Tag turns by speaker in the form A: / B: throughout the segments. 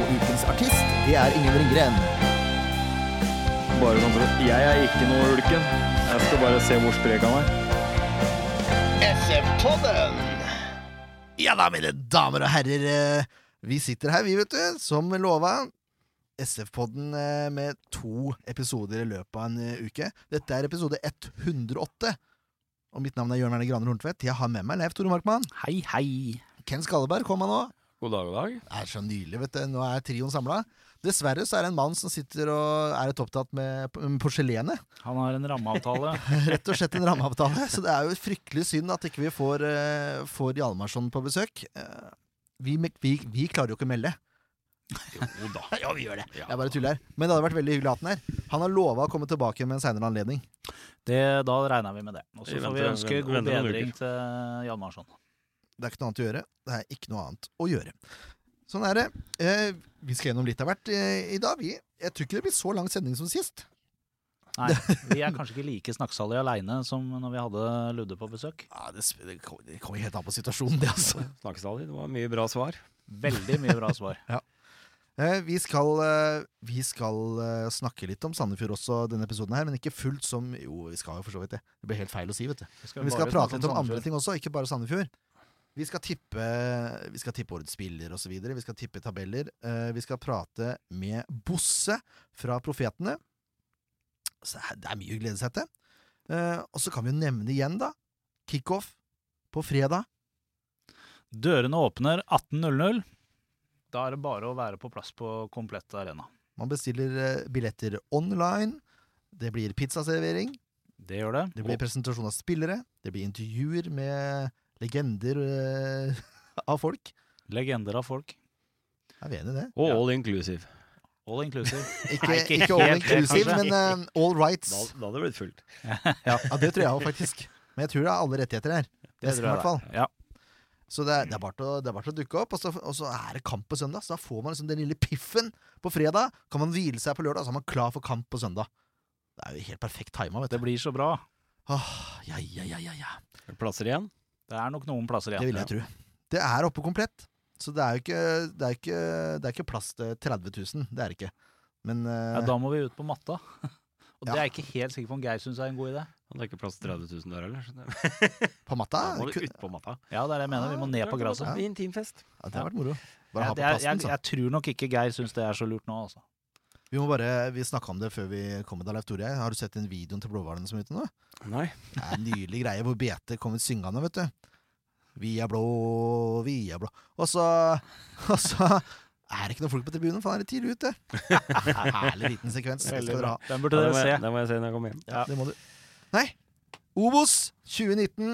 A: Og ukens artist, det er Ingen Ringgren.
B: Bare sånn for at Jeg er ikke noe ulken. Jeg skal bare se hvor sprek han er.
C: Ja da, mine damer og herrer. eh, Vi sitter her, vi, vet du, som lova. SF-podden eh, med to episoder i løpet av en eh, uke. Dette er episode 108. Og mitt navn er Jørn Werner Graner Horntvedt. Jeg har med meg Leif Tore Markmann.
D: Hei, hei.
C: Ken Skalleberg kom han òg.
B: God dag, god dag.
C: Det er så nydelig, vet du. Nå er trioen samla. Dessverre så er det en mann som sitter og er litt opptatt med p- med porselenet.
D: Han har en rammeavtale.
C: Rett og slett en rammeavtale. Så det er jo fryktelig synd at ikke vi får, eh, får Hjalmarsson på besøk. Eh, vi, me- vi, vi klarer jo ikke å melde. Jo da. ja, vi gjør det. Jeg bare tuller. Men det hadde vært veldig hyggelig at han er. Han har lova å komme tilbake med en seinere anledning.
D: Det, da regner vi med det. Og så
B: Vi
D: får vi
B: venter-
D: ønske god
B: venter noen
D: bedring
B: uker.
D: til Hjalmarsson.
C: Det er ikke noe annet å gjøre. Det er ikke noe annet å gjøre. Sånn er det. Eh, vi skal gjennom litt av hvert eh, i dag, vi. Jeg tror ikke det blir så lang sending som sist.
D: Nei, vi er kanskje ikke like snakksalige aleine som når vi hadde Ludde på besøk.
C: Ja, det, sp- det kom- det kommer helt an på situasjonen, det, altså.
B: Snakkes aldri. Det var mye bra svar.
D: Veldig mye bra svar.
C: Eh, Vi skal, eh, vi skal eh, snakke litt om Sandefjord også denne episoden her, men ikke fullt som Jo, vi skal jo for så vidt det. Det blir helt feil å si, vet du. Men vi skal
D: bare
C: prate
D: snakke
C: litt om andre
D: Sandefjord.
C: ting også, ikke bare Sandefjord. Vi skal tippe, vi skal tippe årets spiller osv. Vi skal tippe tabeller. Eh, Vi skal prate med Bosse fra Profetene. Så det er- det er mye å glede seg til. Eh, Og så kan vi jo nevne igjen, da. Kickoff på fredag.
D: Dørene åpner 18.00. Da er det bare å være på plass på komplett arena.
C: Man bestiller eh, billetter online. Det blir pizzaservering.
D: Det gjør det.
C: Det blir presentasjon av spillere. Det blir intervjuer med legender eh, av folk.
D: Og legender av folk.
C: Jeg er enig i det.
B: Og all inclusive.
D: All inclusive.
C: Ikke,
D: Nei,
C: ikke,
D: ikke
C: all
D: helt det,
C: inclusive,
D: kanskje.
C: men eh, all rights.
B: Da, da hadde det blitt fullt.
C: Ja, det tror jeg òg, faktisk. Men jeg tror det er alle rettigheter her.
D: Det
C: Nesten,
D: tror
C: i
D: jeg
C: hvert fall.
D: det. Ja.
C: Så det er, det er, bare, til å, det er bare til å dukke opp. Og så, og så er det kamp på søndag, så da får man liksom den lille piffen på fredag. Kan man hvile seg på lørdag, så er man klar for kamp på søndag. Det er jo helt perfekt tima, vet
D: Det
C: du.
D: blir så bra.
C: Åh, ja, ja, ja, ja, ja.
B: Er det Plasser igjen?
D: Det er nok noen plasser
C: Det
D: igjen.
C: vil jeg tro. Det er oppe komplett. Så det er jo ikke, det er ikke, det er ikke plass til 30 000. Det er det ikke. Men eh,
D: Ja, da må vi ut på matta. Og det
C: Ja.
D: er jeg ikke helt sikker på om Geir syns er en god idé.
B: Det er ikke plass til 30 000 der heller. skjønner jeg.
C: på matta
B: Da må
C: ku-
B: du ut på matta.
D: Ja, Ah, det er det jeg mener. Vi må ned på
C: Ja.
D: gresset.
B: Bli intimfest.
C: ja, Det hadde vært moro. Bare
D: Jeg,
C: ha på
D: jeg,
C: plassen,
D: jeg,
C: så.
D: jeg tror nok ikke Geir syns det er så lurt nå, altså.
C: Vi må bare, vi snakka om det før vi kom med Leif Tore. Har du sett den videoen til Blåhvalene som er ute nå?
B: Nei.
C: Det er en nylig greie hvor BT kom ut syngende, vet du. Vi er blå, vi er blå. Og så, og så er det ikke noen folk på tribunen, for han er litt tidlig ute. Herlig liten sekvens. Det skal dere ha.
D: Den burde
B: Det
D: dere
B: må,
D: se.
B: jeg, det må jeg se når jeg kommer hjem.
D: Ja.
C: Det må du. Nei. Obos 2019.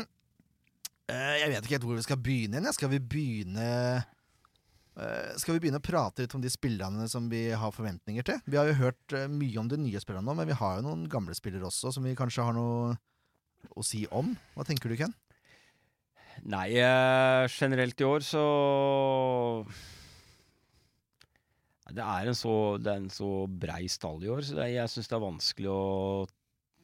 C: Eh, Jeg vet ikke helt hvor vi skal begynne igjen. jeg. Skal vi begynne eh, Skal vi begynne å prate litt om de spillerne som vi har forventninger til? Vi har jo hørt eh, mye om de nye spillerne nå, men vi har jo noen gamle spillere også som vi kanskje har noe å si om. Hva tenker du, Ken?
B: Nei, eh, generelt i år så Nei, Det er en så, det er en så brei stall i år, så det, er- jeg syns det er vanskelig å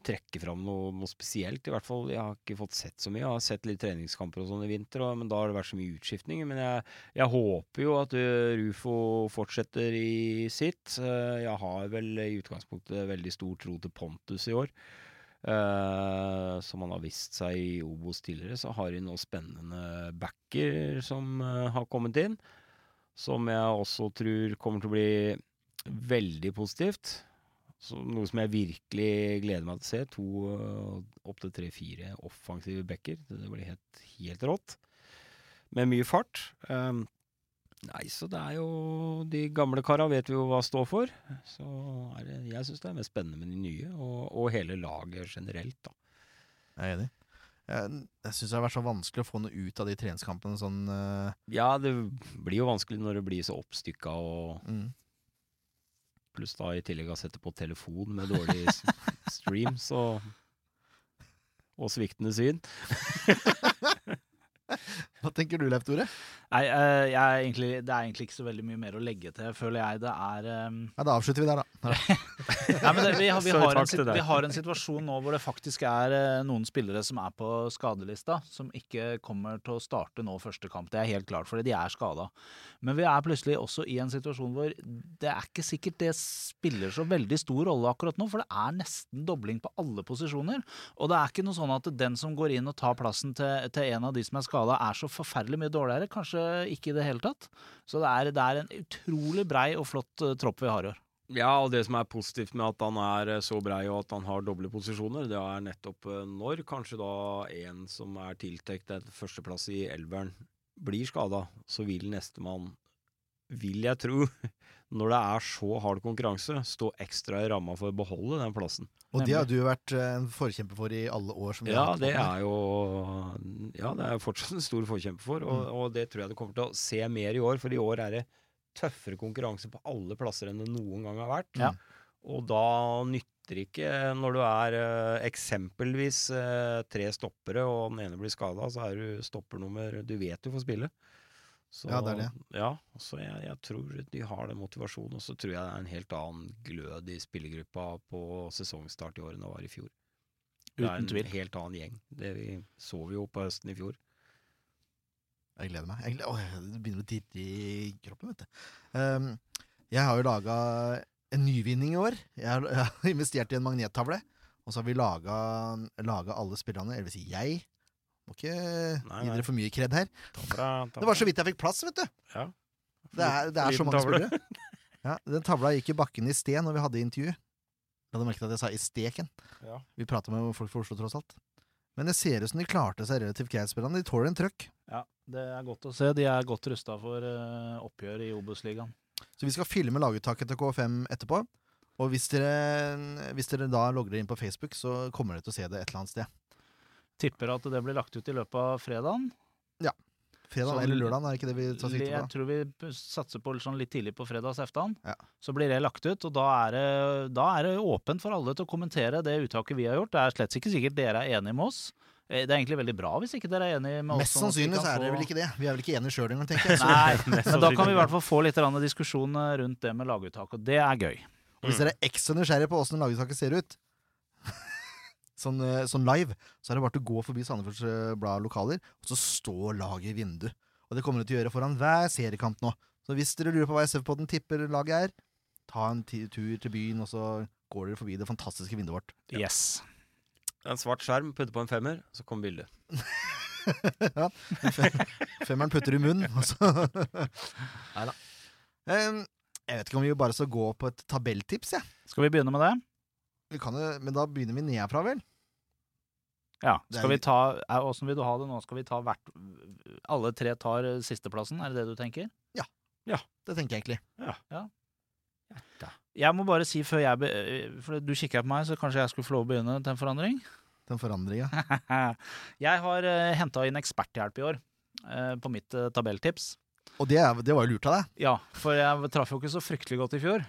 B: trekke fram noe, noe spesielt. I hvert fall, Jeg har ikke fått sett så mye. Jeg har sett litt treningskamper og sånn i vinter, og, men da har det vært så mye utskiftninger. Men jeg, jeg håper jo at ø, Rufo fortsetter i sitt. Eh, Jeg har vel i utgangspunktet veldig stor tro til Pontus i år. Eh, som han har vist seg i Obos tidligere, så har de nå spennende backer som eh, har kommet inn. Som jeg også tror kommer til å bli veldig positivt. Så noe som jeg virkelig gleder meg til å se. To eh, opp til tre-fire offensive backer. Det blir helt, helt rått. Med mye fart. Um, nei, så det er jo De gamle kara vet vi jo hva står for. Så er det, jeg syns det er mest spennende med de nye, og, og hele laget generelt, da.
C: Jeg er enig. Jeg, jeg syns det har vært så vanskelig å få noe ut av de treningskampene sånn eh,
B: Ja, det blir jo vanskelig når det blir så oppstykka, og
C: mm.
B: pluss da i tillegg å sette på telefon med dårlig s- stream, så Og sviktende syn.
C: Hva tenker du, Leif Tore?
D: Nei, eh, jeg er egentlig, det er egentlig ikke så veldig mye mer å legge til, føler jeg. Det er eh,
C: Ja, da avslutter vi der, da.
D: Nei, men det, vi, har- vi,
B: Så
D: har en,
B: takk
D: sit-
B: til deg.
D: vi har en situasjon nå hvor det faktisk er eh, noen spillere som er på skadelista, som ikke kommer til å starte nå første kamp. Det er helt klart, fordi de er skada. Men vi er plutselig også i en situasjon hvor det er ikke sikkert det spiller så veldig stor rolle akkurat nå, for det er nesten dobling på alle posisjoner. Og det er ikke noe sånn at den som går inn og tar plassen til, til en av de som er skada, er så forferdelig mye dårligere. Kanskje ikke i det hele tatt. Så det er, det er en utrolig brei og flott eh, tropp vi har i år.
B: Ja, og det som er positivt med at han er eh, så brei og at han har doble posisjoner, det er nettopp eh, når kanskje da en som er tiltenkt en førsteplass i elveren, blir skada, så vil nestemann, vil jeg tro, når det er så hard konkurranse, stå ekstra i ramma for å beholde den plassen.
C: Og det
D: Nemlig.
C: har du vært eh, en forkjemper for i alle år. Som vi
B: Ja,
C: har hatt
B: det
C: podden.
B: er jo Ja, det er jeg fortsatt en stor forkjemper for, og,
C: Mm.
B: og det tror jeg du kommer til å se mer i år, for i år er det tøffere konkurranse på alle plasser enn det noen gang har vært.
D: Ja.
B: Og da nytter det ikke når du er eh, eksempelvis eh, tre stoppere, og den ene blir skada, så er du stoppernummer Du vet du får spille. Så,
C: Ja, det er det.
B: ja, så jeg, jeg tror de har den motivasjonen, og så tror jeg det er en helt annen glød i spillergruppa på sesongstart i år enn det var i fjor. Det er
D: Uten tvil.
B: en helt annen gjeng. Det vi så vi jo på høsten i fjor.
C: Jeg gleder meg. Jeg gleder, åh, det begynner å dirre i kroppen, vet du. Um, jeg har jo laga en nyvinning i år. Jeg har, jeg har investert i en magnettavle. Og så har vi laga alle spillerne, eller vil si jeg. Må ikke
B: Nei,
C: gi
B: nei.
C: dere for mye kred her. Det var så vidt jeg fikk plass, vet du.
B: Ja.
C: Det er, det er så
B: Liten
C: mange
B: tavle.
C: spillere. Ja, den tavla gikk i bakken i sted når vi hadde intervju. La du merke til at jeg sa i steken?
B: Ja.
C: Vi prater med folk fra Oslo, tross alt. Men det ser ut som de klarte seg relativt greit, spillerne. De tåler en trøkk.
D: Ja, det er godt å se. De er godt rusta for eh, oppgjør i Obos-ligaen.
C: Så vi skal filme laguttaket til K5 etterpå. Og hvis dere, hvis dere da logger dere inn på Facebook, så kommer dere til å se det et eller annet sted.
D: Tipper at det blir lagt ut i løpet av fredagen.
C: Fredag
D: Sånn-
C: eller lørdag, er det ikke det vi tar sikte på?
D: Jeg
C: da?
D: tror vi p- satser på sånn litt tidlig på fredags eftan.
C: Ja.
D: Så blir det lagt ut, og da er, det, da er det åpent for alle til å kommentere det uttaket vi har gjort. Det er slett ikke sikkert dere er enige med oss. Eh, Det er egentlig veldig bra hvis ikke dere er enige med oss.
C: Mest sannsynlig så er dere vel ikke det. Vi er vel ikke enige sjøl engang, tenker jeg. Så,
D: Nei, men da kan vi i hvert fall få litt grann diskusjon eh, rundt det med laguttak, og det er gøy.
C: og hvis dere er ekstra nysgjerrige på åssen laguttaket ser ut, sånn, eh, sånn live, så er det bare til å gå forbi Sandefjords eh, Blad lokaler, og så står laget i vinduet. Og det kommer dere til å gjøre foran hver seriekamp nå. Så hvis dere lurer på hva SF-podden tipper laget er, ta en ti- tur til byen, og så går dere forbi det fantastiske vinduet vårt.
D: Yes.
B: En svart skjerm, putte på en femmer, så kom bildet.
C: ja. Femmeren putter i munnen, og så Nei da. Em, jeg vet ikke om vi bare skal gå på et tabelltips, jeg.
D: Skal vi begynne med det?
C: Vi kan jo, men da begynner vi nedfra, vel?
D: Ja,
C: Det er
D: skal vi
C: litt-
D: ta, er, Hvordan vil du ha det nå? Skal vi ta hvert Alle tre tar eh, sisteplassen, er det det du tenker?
C: Det tenker jeg egentlig.
D: Jeg må bare si før jeg be, eh, For du kikker på meg, så kanskje jeg skulle få lov å begynne til en forandring?
C: Den forandringa.
D: jeg har uh, henta inn eksperthjelp i år, eh, på mitt eh, tabelltips.
C: Og det, er- det var jo lurt av deg.
D: Ja, for jeg traff jo ikke så fryktelig godt i fjor.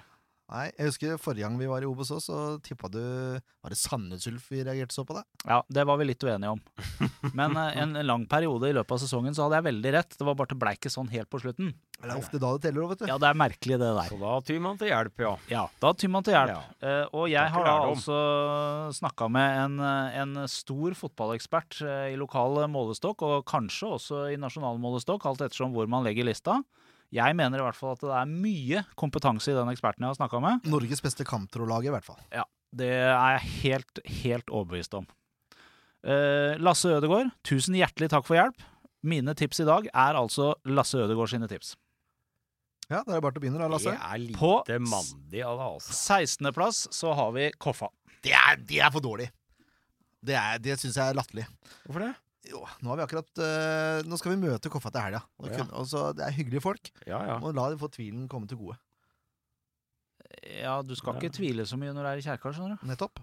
C: Nei, Jeg husker forrige gang vi var i Obos òg, så tippa du Var det Sandnes Ulf vi reagerte så på deg?
D: Ja, det var vi litt uenige om. Men eh, en lang periode i løpet av sesongen så hadde jeg veldig rett. Det var bare at det blei ikke sånn helt på slutten.
C: Det er ofte da det teller òg, vet du.
D: Ja, det er merkelig, det der.
B: Så da tyr man til hjelp, ja.
D: Ja, da tyr man til hjelp.
B: Ja.
D: Eh, og jeg har
B: Takk for
D: da
B: lærdom.
D: altså snakka med en, eh, en stor fotballekspert eh, i lokal eh, målestokk, og kanskje også i nasjonal målestokk, alt ettersom hvor man legger lista. Jeg mener i hvert fall at det er mye kompetanse i den eksperten jeg har snakka med.
C: Norges beste kamptrådlag, i hvert fall.
D: Det er jeg helt, helt overbevist om. Eh, Lasse Ødegaard, tusen hjertelig takk for hjelp. Mine tips i dag er altså Lasse Ødegaard sine tips.
C: Ja, Da er det bare til å begynne, da,
B: Det
C: Lasse.
B: er lite
D: På-
B: mandig av det, altså.
D: 16.plass så har vi Koffa.
C: Det er, det er for dårlig. Det, er- det syns jeg er latterlig.
B: Hvorfor det?
C: Jo, nå har vi akkurat eh, Nå skal vi møte Koffa til helga. Og
B: Ja.
C: kun- og så- Det er hyggelige folk.
B: Ja, ja.
C: Må la dem få tvilen komme til gode.
D: Ja, du skal ikke tvile så mye når du er i kjerka, skjønner du.
C: Nettopp.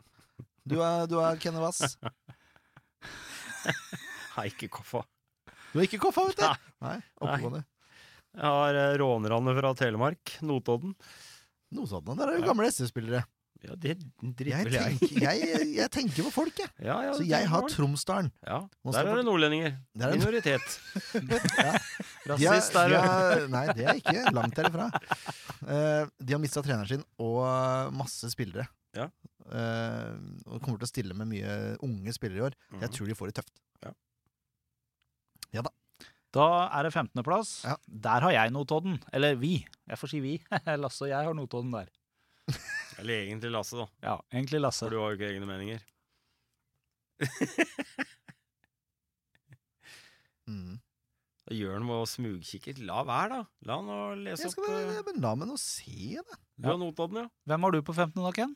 C: Du er, du er Kenny Wass.
B: Nei, ikke Koffa.
C: Du har ikke koffa, vet
B: Nei.
C: du! Nei, oppegående.
B: Jeg har eh, rånerne fra Telemark, Notodden.
C: Notodden, der er jo gamle SV-spillere.
B: Ja, det
C: Jeg,
B: dritter vel jeg.
C: tenker- jeg, jeg tenker på folk, jeg.
B: Ja, ja,
C: Så
B: det
C: jeg
B: tenker
C: har
B: jeg.
C: Tromsdalen.
B: ja.
C: Nå står
B: Der er det nordlendinger.
C: Der er det-
B: Minoritet.
C: Ja. De har-
B: Rasist er
C: de
B: du.
C: har- Nei, det er ikke. Langt derifra. Eh, de har mista treneren sin og masse spillere.
B: Ja.
C: Eh, og kommer til å stille med mye unge spillere i år.
B: Mhm.
C: Jeg tror de får det tøft.
D: Da er det 15. plass.
C: Ja.
D: Der har jeg Notodden. Eller vi. Jeg får si vi. Lasse og jeg har Notodden der.
B: Eller egentlig Lasse, da.
D: Ja, egentlig Lasse.
B: For du har jo ikke egne meninger.
C: Mm.
B: Da gjør han med å smugkikke. La være, da. La han å lese
C: Jeg
B: opp
C: skal,
B: eh,
C: bare- men la meg nå se, da.
B: Du har Notodden, ja?
D: Hvem har du på 15. da, Ken?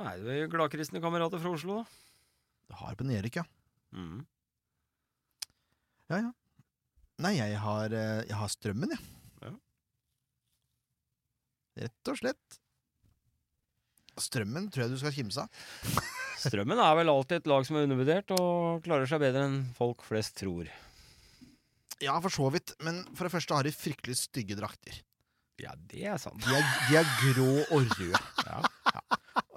B: Nei, du er jo gladkristne kamerater fra Oslo, da.
C: Du har på Erik, ja.
B: Mm.
C: Nei, jeg har, eh, jeg har Strømmen, jeg.
B: Ja.
C: Rett og slett. Strømmen tror jeg du skal kimse av.
B: Strømmen er vel alltid et lag som er undervurdert og klarer seg bedre enn folk flest tror.
C: Ja, for så vidt. Men for det første har de fryktelig stygge drakter.
B: Ja, det er sant.
C: De er, de er grå og røde.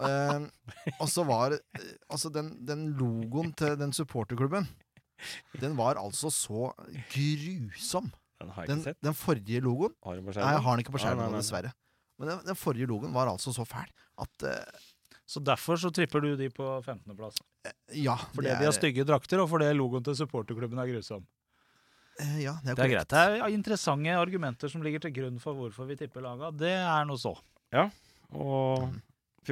C: Ehm, og så var eh, altså den, den logoen til den supporterklubben Den var altså så grusom.
B: Den har jeg
C: Den,
B: ikke sett.
C: den forrige logoen
B: Har du på
C: Nei, jeg
B: skjermen?
C: har den ikke på
B: Nei,
C: skjermen,
B: nei,
C: nå,
B: nei.
C: dessverre. Men den, den forrige logoen var altså så fæl at eh,
D: Så derfor så tripper du de på 15. plass.
C: Ja.
D: Fordi
C: det
D: de
C: er-
D: har stygge drakter, og fordi logoen til supporterklubben er grusom.
C: eh, ja, det er,
D: Det er
C: korrekt.
D: greit. Det er interessante argumenter som ligger til grunn for hvorfor vi tipper laga. Det er noe så.
B: Og
C: Mm.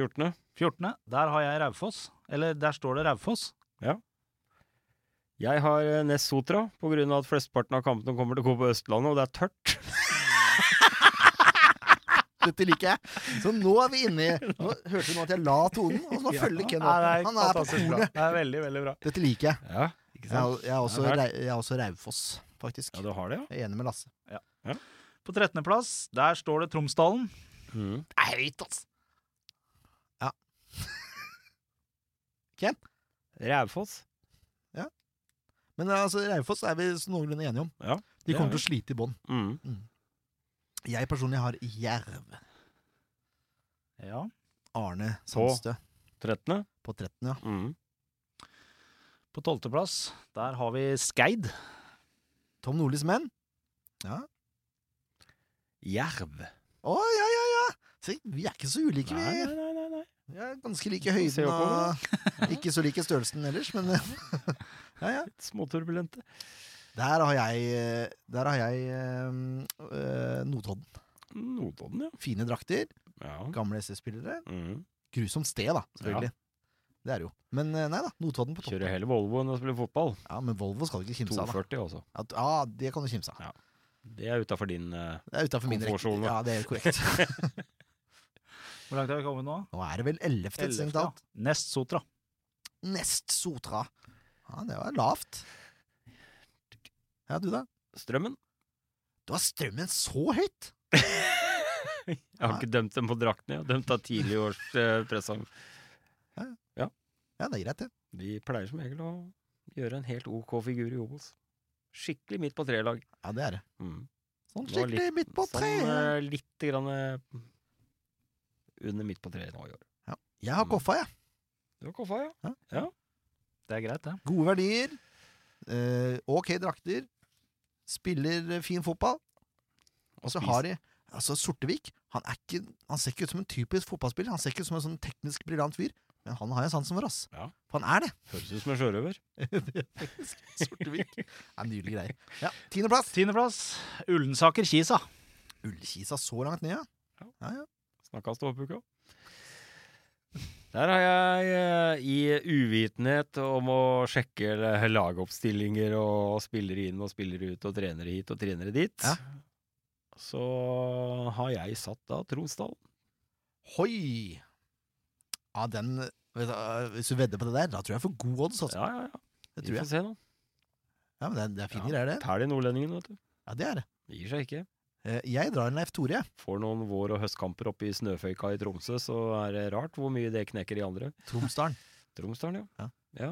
B: 14.
D: 14. Der har jeg Raufoss. Eller der står det Raufoss.
B: Jeg har eh, Ness Sotra på grunn av at flesteparten av kampene kommer til å gå på Østlandet, og det er tørt.
C: Dette liker jeg. Så nå er vi inne i Nå hørte du nå at jeg la tonen, og nå følger Ken opp.
D: Nei, det
C: Han er på
D: fantastisk bra.
C: ordet.
D: Det er veldig, veldig bra.
C: Dette liker jeg.
B: Ja, ikke
C: Jeg er, jeg er, også,
B: Det er
C: rei- jeg er også Raufoss, faktisk.
B: Ja, du har det, ja.
C: Jeg er enig med Lasse.
D: På 13. plass, der står det Tromsdalen.
B: Mm.
C: Det er høyt, altså.
B: Rævfoss.
C: Men altså, Raufoss er vi så noenlunde enige om.
B: Ja,
C: De
B: det
C: kommer
B: er
C: til å slite i bånn.
B: Mm.
C: Jeg personlig har Jerv.
D: Ja.
C: Arne Sandstø
B: 13.
C: på 13, ja.
B: Mm.
D: På 12. plass, der har vi Skeid.
C: Tom Nordlis menn.
B: Jerv.
C: Å, ja, ja, ja! Se, vi er ikke så ulike,
B: Nei,
C: vi.
B: nei, nei, nei, nei.
C: Vi er ganske like
B: Se
C: høyden
B: oppover,
C: og ikke så like størrelsen ellers, men eh, Ja, ja.
B: Litt småturbulente.
C: Der har jeg, eh, der har jeg eh, eh, Notodden.
B: Notodden, ja.
C: Fine drakter,
B: ja.
C: gamle SS-spillere.
B: Mm.
C: Grusomt sted, da, selvfølgelig. Det er det jo. Men eh, nei da, Notodden på topp.
B: Kjører heller Volvo enn å spille fotball.
C: Ja, men Volvo skal du ikke kimse av, da.
B: 240 også.
C: Ja, t- Ja, det kan du kimse av.
B: Det er utafor din eh,
C: Det er utafor min rekke.
B: Komfortsone.
C: Ja, det er korrekt.
D: Hvor langt har vi kommet nå?
C: Nå er det vel 11. strengt
D: 11.,
C: talt.
D: ja. Nest Sotra.
C: Nest Sotra. Ja, det var lavt. Ja, du da?
B: Strømmen.
C: Du har strømmen så høyt!
B: Jeg har
C: Nei.
B: ikke dømt dem på draktene, jeg har dømt av tidlig års eh, presang.
C: Ja, det er greit, det.
B: De pleier som regel å gjøre en helt ok figur i Obos. Skikkelig midt på tre-lag.
C: Ja, det er det.
B: Mm.
C: Sånn
B: Det var
C: skikkelig midt på treet.
B: Sånn eh, litt grann eh, under midt på treet nå i år.
C: Jeg har koffa, jeg.
B: Det var koffa, ja.
D: Det er greit, det.
C: Gode verdier. Eh, ok drakter. Spiller eh, fin fotball. Og så
B: spist.
C: har de Altså, Sortevik han, er ikke, han ser ikke ut som en typisk fotballspiller. Han ser ikke ut som en sånn teknisk briljant fyr, men han har jo sansen for oss.
B: Ja.
C: For han er det.
B: Høres ut som en sjørøver.
C: Sortevik. Det er nydelige greier. Ja, Tiendeplass.
D: Tiendeplass, Ullensaker-Kisa.
C: Ullkisa så langt ned, ja.
B: Snakka ståpuka. Der har jeg eh, i uvitenhet om å sjekke eh, lagoppstillinger og spillere inn og spillere ut og trenere hit og trenere dit,
C: Ja.
B: så har jeg satt da Tromsdal.
C: Hoi! Ja, den vet du, øh, Hvis du vedder på det der, da tror jeg jeg får god odds. Altså.
B: Ja, ja, ja.
C: Det
B: Vi
C: tror jeg.
B: får se nå.
C: Ja, men det, er- det er fine
B: Ja.
C: greier, det.
B: Tæl i nordlendingene, vet du.
C: Ja, det er det.
B: Det Gir seg ikke.
C: Eh, Jeg drar en Leif Tore, jeg.
B: Får noen vår- og høstkamper oppe i snøføyka i Tromsø, så er det rart hvor mye det knekker i andre.
C: Tromsdalen.
B: Tromsdalen,
C: Ja.
B: ja. ja.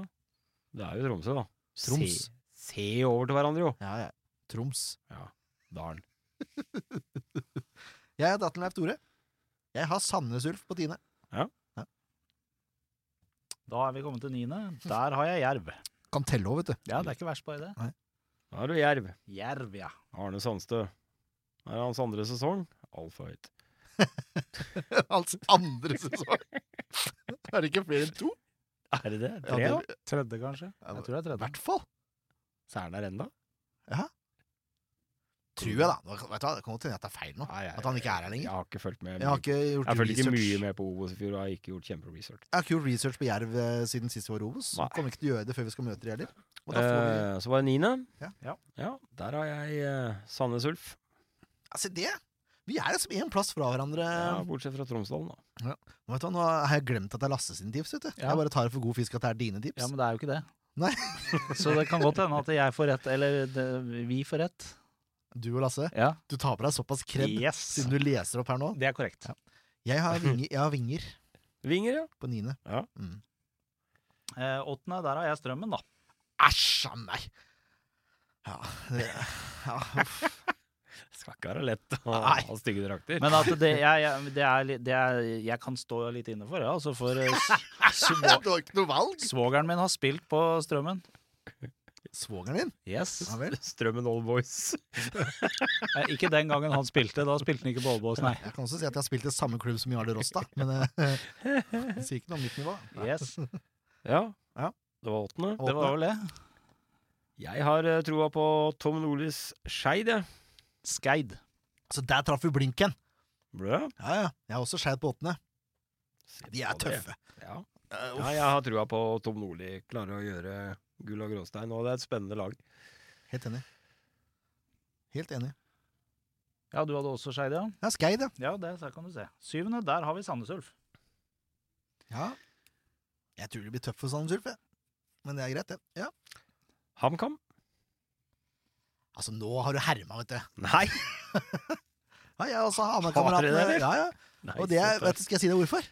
B: Det er jo Tromsø, da.
C: Troms.
B: Se, se over til hverandre, jo.
C: Ja, ja. Troms.
B: Dalen.
C: Jeg er datteren Leif Tore. Jeg har Sandnes Ulf på tiende.
D: Da er vi kommet til niende. Der har jeg jerv.
C: Kan telle òg, vet du.
D: Ja, det er ikke verst, bare det.
B: Da er du jerv.
D: Jerv, ja.
B: Arne Sandstø. Det er hans andre sesong. Altfor høyt.
C: altså andre sesong. er det ikke flere enn to?
B: Er det det?
C: Ja,
B: Tre, da?
C: det-
D: Tredje, kanskje. Jeg tror det er
C: I
D: tredje.
C: hvert fall.
B: Så er han der ennå?
C: Tror jeg, da. Nå- Vet du, hva, det kan godt hende at det er feil nå.
B: Nei, jeg-
C: At han ikke er her lenger.
B: Jeg har ikke fulgt med.
C: Jeg har ikke gjort
B: jeg fulgte ikke
C: research.
B: mye med på Obos i fjor, og jeg har ikke gjort kjemperesearch.
C: Jeg har ikke gjort research på Jerv eh, siden sist vi var i Obos.
B: Nei.
C: Kommer ikke til å gjøre det før vi skal møte de heller. Og da får vi...
B: Eh, så var det niende.
C: Ja.
D: Ja.
B: Ja, Der har jeg eh, Sandnes Ulf.
C: Altså, det Vi er liksom én plass fra hverandre.
B: Ja, bortsett fra Tromsdalen, da.
C: Nå Vet du, hva, nå har jeg glemt at det er Lasse sine tips. vet du
D: Ja.
C: Jeg bare tar det for god fisk at det er dine tips.
D: Ja, men det er jo ikke det.
C: Nei.
D: Så det kan godt hende at jeg får rett, eller det, vi får rett.
C: Du og Lasse,
D: Ja.
C: du tar på deg såpass kred
D: Yes.
C: siden du leser opp her nå.
D: Det er korrekt.
C: Jeg har vinger, jeg har vinger
B: Vinger, ja.
C: på niende. Mm.
D: Eh, åttende, der har jeg strømmen, da.
C: Æsj a meg! Ja, det, ja uff.
B: Skal ikke være lett å
C: Nei.
B: ha stygge drakter.
D: Men at det, jeg, jeg, det, er, litt- det er Jeg kan stå litt inne for det, altså. For eh, s- svo,
C: Du har ikke noe valg!
D: svogeren min har spilt på strømmen.
C: Svogeren din?
D: Yes.
C: Ja vel.
B: Strømmen Old Boys.
D: Eh, ikke den gangen han spilte. Da spilte han ikke på Aalborg, nei.
C: Jeg kan også si at jeg har spilt i samme klubb som Jarle Rosta, men eh, det sier ikke noe om mitt nivå.
D: Yes.
B: Ja.
C: Ja.
B: Det var åttende.
D: Det var vel det.
B: Jeg har eh, troa på Tom Nordlys Skeid, jeg.
D: Skeid.
C: Så der traff vi blinken!
B: Ble det?
C: Ja, ja. Jeg er også skeid på åttende.
B: Se
C: De er
B: på det.
C: tøffe.
B: Ja.
C: Eh, uff.
B: ja, jeg har trua på Tom Nordli klarer å gjøre gull og gråstein, og det er et spennende lag.
C: Helt enig. Helt enig.
D: Ja, du hadde også Skeid, ja.
C: Ja, Skeid, ja.
D: Ja, det der kan du se. Syvende, der har vi Sandnes Ulf.
C: ja. Jeg tror det blir tøft for Sandnes Ulf, jeg. men det er greit, det. Ja.
B: HamKam?
C: Altså, nå har du herma, vet du.
B: Nei!
C: Ja, jeg også har med
B: Har dere det,
C: kameratene.
B: eller?
C: Ja, ja.
B: Nei,
C: Og det er,
B: så
C: vet
B: tøft.
C: du, skal jeg si deg hvorfor?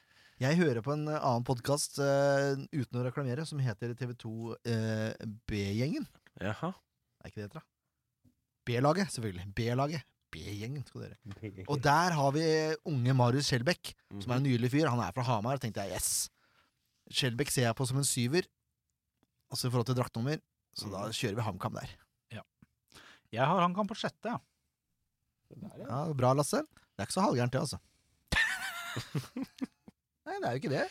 C: Jeg hører på en eh, annen podkast uten å reklamere, som heter TV2 eh, B-gjengen.
B: Jaha.
C: Er ikke det det heter, da? B-laget, selvfølgelig. B-laget. B-gjengen, skal dere. Og der har vi eh, unge Marius Skjelbæk, som er en
B: Mhm.
C: nydelig fyr. Han er fra Hamar. tenkte jeg, yes. Skjelbæk ser jeg på som en syver, altså i forhold til draktnummer. Så da
B: Mhm.
C: kjører vi HamKam der.
D: Jeg har HamKam på sjette, ja.
C: Ja, Bra, Lasse. Det er ikke så halvgærent, det, altså. Nei, det er jo ikke det.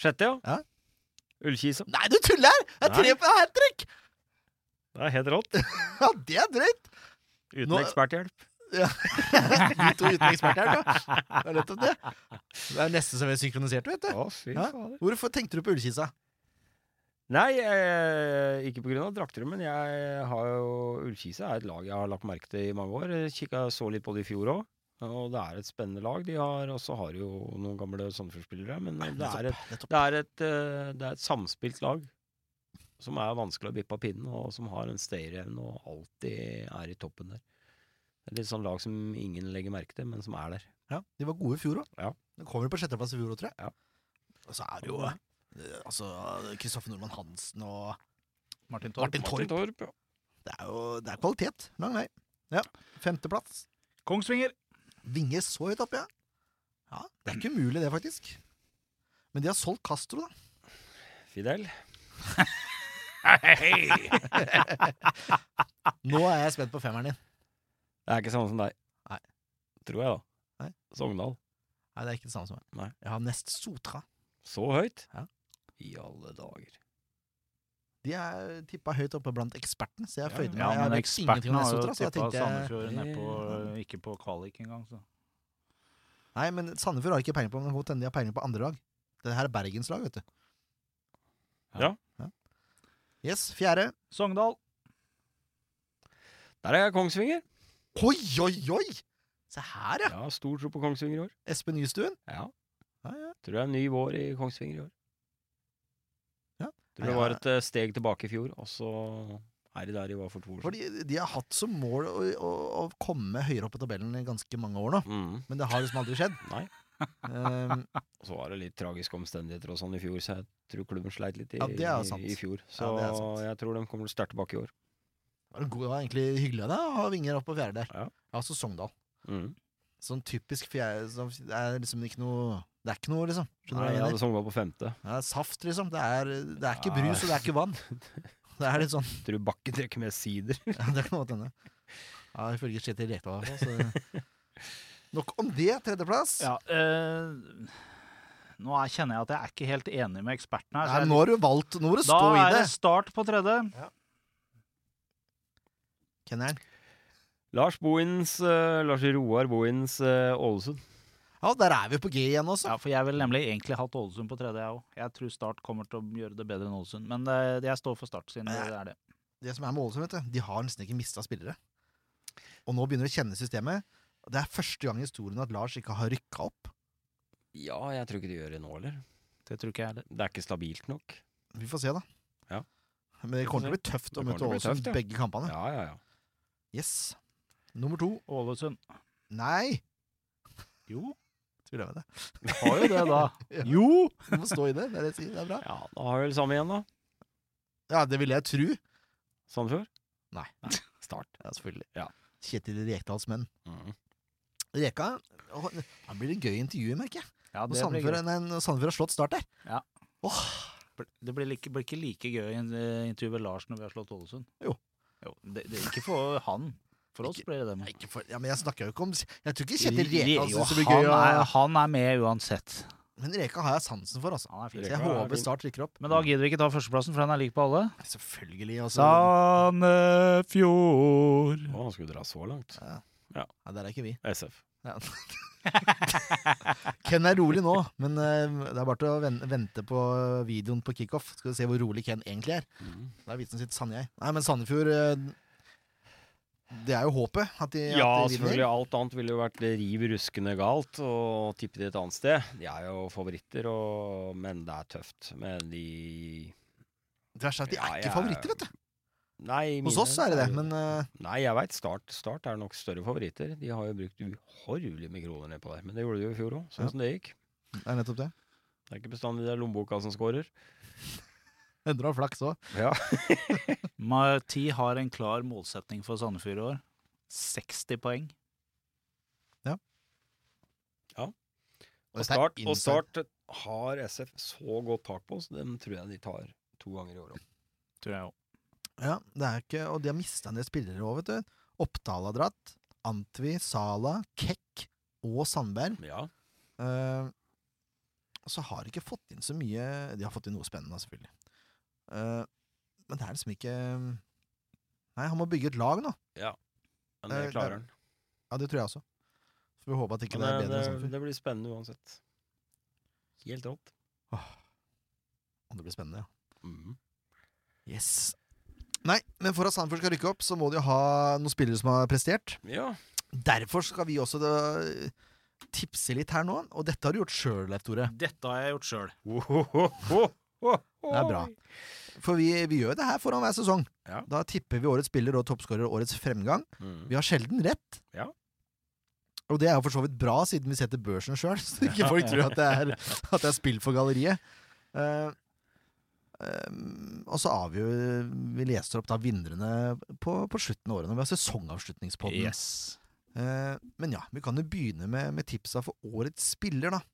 B: Sjette, ja.
C: Ja.
B: Ullkisa.
C: Nei, du tuller! Det er tre
B: Nei.
C: på hat trick!
B: Det er helt rått.
C: Ja, det er drøyt!
B: Uten
C: Nå-
B: eksperthjelp.
C: De to uten eksperter, da. Det er nettopp det. Det er nesten som vi er synkroniserte, vet du.
B: Å, fy
C: Ja.
B: fader.
C: Hvorfor tenkte du på ullkisa?
B: Nei, eh, ikke pga. drakter, men jeg har jo Ullkisa er et lag jeg har lagt merke til i mange år. Jeg Kikka så litt på det i fjor òg. Og det er et spennende lag. De har også har jo noen gamle Sandefjord-spillere, men det er, et,
C: Altså, nettopp.
B: det, er et, eh, det er et samspilt lag som er vanskelig å bippe av pinnen, og som har en stayerevne og alltid er i toppen der. Det er et sånt lag som ingen legger merke til, men som er der.
C: Ja, de var gode i fjor òg.
B: Ja.
C: De kommer på sjetteplass i fjor òg, tror jeg.
B: Ja.
C: Og så er det jo eh, altså, Kristoffer Nordmann Hansen og
D: Martin Torp.
C: Martin Torp.
B: Torp, ja.
C: Det er jo det er kvalitet. Lang vei. Ja. Femteplass.
D: Kongsvinger.
C: Vinge så høyt oppe, ja. ja. Det er ikke umulig, det, faktisk. Men de har solgt Castro, da.
B: Fidel.
C: Nå er jeg spent på femmeren din.
B: Det er ikke samme som deg.
C: Nei.
B: Tror jeg, da.
C: Nei.
B: Sogndal.
C: Nei, det er ikke det samme som meg.
B: Nei.
C: Jeg har nest Sotra.
B: Så høyt?
C: Ja.
B: I alle dager.
C: De er tippa høyt oppe blant ekspertene, så jeg
B: Ja,
C: føyde meg.
D: Ja,
C: jeg
D: men
C: vet ingenting
D: eksperten
C: om
D: har jo
C: Nessotra, så jeg
D: tippa
C: tenkte jeg-
D: Sandefjord ned på, eh,
B: Ja.
D: ikke på kvalik engang. Så.
C: Nei, men Sandefjord har ikke peiling på men det kan godt hende de har peiling på andre lag. Det her er Bergens lag, vet du.
B: Ja.
C: Yes, fjerde.
D: Sogndal.
B: Der er jeg Kongsvinger.
C: Oi, oi, oi! Se her, ja.
B: Ja, stor tro på Kongsvinger i år.
C: Espen Nystuen.
B: Ja.
C: Ja, ja.
B: Tror det er en ny vår i Kongsvinger i år.
C: Ja.
B: Tror det
C: Ja.
B: var et eh, steg tilbake i fjor, og så Er de der de var for to år siden?
C: Fordi de har hatt som mål å, å, å komme høyere opp på tabellen i ganske mange år nå.
B: Mm.
C: Men det har liksom aldri skjedd.
B: Nei.
C: Ehm,
B: Og så var det litt tragiske omstendigheter og sånn i fjor, så jeg tror klubben sleit litt i,
C: Ja, det er sant.
B: i, i fjor. Så
C: Ja, det er sant.
B: jeg tror de kommer til å starte tilbake i år.
C: det var en god- det var egentlig hyggelig av deg å ha vinger opp på fjerde der.
B: Ja.
C: Altså Sogndal.
B: Mm.
C: Sånn typisk fjerde som Det er liksom ikke noe Det er ikke noe, liksom. Skjønner du hva
B: Nei,
C: jeg
B: jeg
C: mener?
B: hadde Sogndal på femte.
C: Det er saft, liksom. Det er, det er ikke
B: Ja.
C: brus, og det er ikke vann. Det er litt sånn
B: Tror Bakke trekker med sider.
C: ja, Det kan godt hende. Ja, ifølge Kjetil Rekdal, i hvert fall. så- Nok om det. Tredjeplass.
D: Ja, eh, nå er, kjenner jeg at jeg er ikke helt enig med ekspertene her. så
C: Nei,
D: jeg-
C: nå har du valgt Nå må du
D: da
C: stå i
D: er
C: det.
D: det start på tredje.
C: Kenneren.
B: Lars Bohins, eh, Lars Roar Bohins eh, Ålesund.
C: Ja, der er vi på G igjen også.
D: Ja, for jeg ville nemlig egentlig hatt Ålesund på tredje, jeg òg. Jeg tror Start kommer til å gjøre det bedre enn Ålesund. Men eh, jeg står for Start, siden det er det.
C: Det som er med Ålesund, vet du, de har nesten ikke mista spillere. Og nå begynner de å kjenne systemet. Det er første gang i historien at Lars ikke har rykka opp.
B: Ja, jeg tror ikke de gjør det nå heller.
D: Det tror ikke jeg heller.
B: Det er ikke stabilt nok.
C: Vi får se, da.
B: Ja.
C: Men det kommer til å bli tøft å
B: Det kommer
C: møte
B: til å bli
C: Ålesund
B: tøft, ja.
C: begge kampene.
B: Ja, ja, ja.
C: Yes. Nummer to
D: Ålesund.
C: Nei!
D: Jo,
C: Tviler jeg med det.
D: har jo det, da.
C: Ja.
D: Jo!
C: Du må stå i det. Det er, det jeg sier, det er bra.
B: ja da har vi vel samme igjen, da.
C: Ja, det ville jeg tro.
B: Sandefjord?
C: Nei.
B: Start.
C: Ja, selvfølgelig.
B: Ja.
C: Kjetil Rekdals menn.
B: Mm.
C: Reka å, Han blir det gøy intervju, merker jeg.
D: Ja,
C: Når
D: det blir,
C: Sandefjord
D: gøy.
C: nei, når Sandefjord har slått start der.
D: det blir, like, blir ikke like gøy i en, eh, intervju med Lars når vi har slått Ålesund.
C: Jo.
D: jo. Det, det, ikke for han. For oss
C: Ikke-
D: blir det det. Men.
C: Nei, ikke for, ja, men jeg snakker jo ikke om Jeg tror ikke Kjetil Rekdal
D: Jo,
C: syns det blir gøy.
D: han, er,
C: å-
D: han er med uansett.
C: Men Reka har jeg sansen for, altså.
D: Han er fin.
C: Så
B: Reka
C: jeg
B: er
C: håper
B: fin.
C: Start rykker opp.
D: Men da gidder vi ikke ta førsteplassen, for den er lik på alle.
C: Selvfølgelig. Altså.
D: Sandefjord.
B: Å, han skulle dra så langt.
C: Ja, der er ikke vi.
B: SF.
C: Ken er rolig nå, men eh, det er bare til å ven- vente på videoen på kickoff. Skal vi se hvor rolig Ken egentlig er.
B: Mm.
C: Da er vitsen sitt sanne jeg. Nei, men Sandefjord eh, Det er jo håpet at de,
B: Ja,
C: at de
B: selvfølgelig. Alt annet ville jo vært riv ruskende galt å tippe det et annet sted. De er jo favoritter, og, men det er tøft. Men de
C: Det verste er at de er
B: Ja,
C: ikke
B: jeg-
C: favoritter, vet du.
B: Nei,
C: Hos
B: mine
C: oss er det det,
B: jo-
C: men eh,
B: Nei, jeg veit. Start, start er nok større favoritter. De har jo brukt uhorvelig med kroner nedpå der. Men det gjorde de jo i fjor òg, sånn
C: Ja.
B: som det gikk.
C: det er nettopp det.
B: Det er ikke bestandig det er lommeboka som scorer.
C: Endre og flaks òg.
B: Ja.
D: Mati har en klar målsetning for Sandefjord i år. 60 poeng.
B: Og start, og start har SF så godt tak på, så dem tror jeg de tar to ganger i året.
D: Tror jeg også.
C: Ja, det er ikke, og de har mista en del spillere òg, vet du. Oppdal har dratt. Antvi, Sala, Kekk og Sandberg.
B: Ja.
C: Eh, og så har de ikke fått inn så mye De har fått inn noe spennende, selvfølgelig. Eh, men det er liksom ikke eh, Nei, han må bygge et lag nå.
B: Men det
C: Eh,
B: klarer han.
C: Ja, det tror jeg også. Så vi håper at ikke
B: Men
C: det er
B: det,
C: bedre enn
B: det,
C: Sandefjord.
B: det blir spennende uansett. Helt rått.
C: Om det blir spennende, ja.
B: Mhm.
C: Yes. Nei, men for at Sandefjord skal rykke opp, så må de jo ha noen spillere som har prestert.
B: Ja.
C: Derfor skal vi også da, eh, tipse litt her nå, og dette har du gjort sjøl, Leif Tore.
D: Dette har jeg gjort sjøl.
C: Det er bra. For vi, vi gjør det her foran hver sesong.
B: Ja.
C: Da tipper vi årets spiller og toppskårer og årets fremgang.
B: Mhm.
C: Vi har sjelden rett.
B: Ja.
C: Og det er jo for så vidt bra, siden vi setter børsen sjøl, så ikke folk tror at det er, at det er spill for galleriet. Eh, eh, og så avgjør vi leser opp da vinnerne på, på slutten av året, når vi har sesongavslutningspodden.
D: Yes.
C: Eh, men ja, vi kan jo begynne med, med tipsa for årets spiller, da.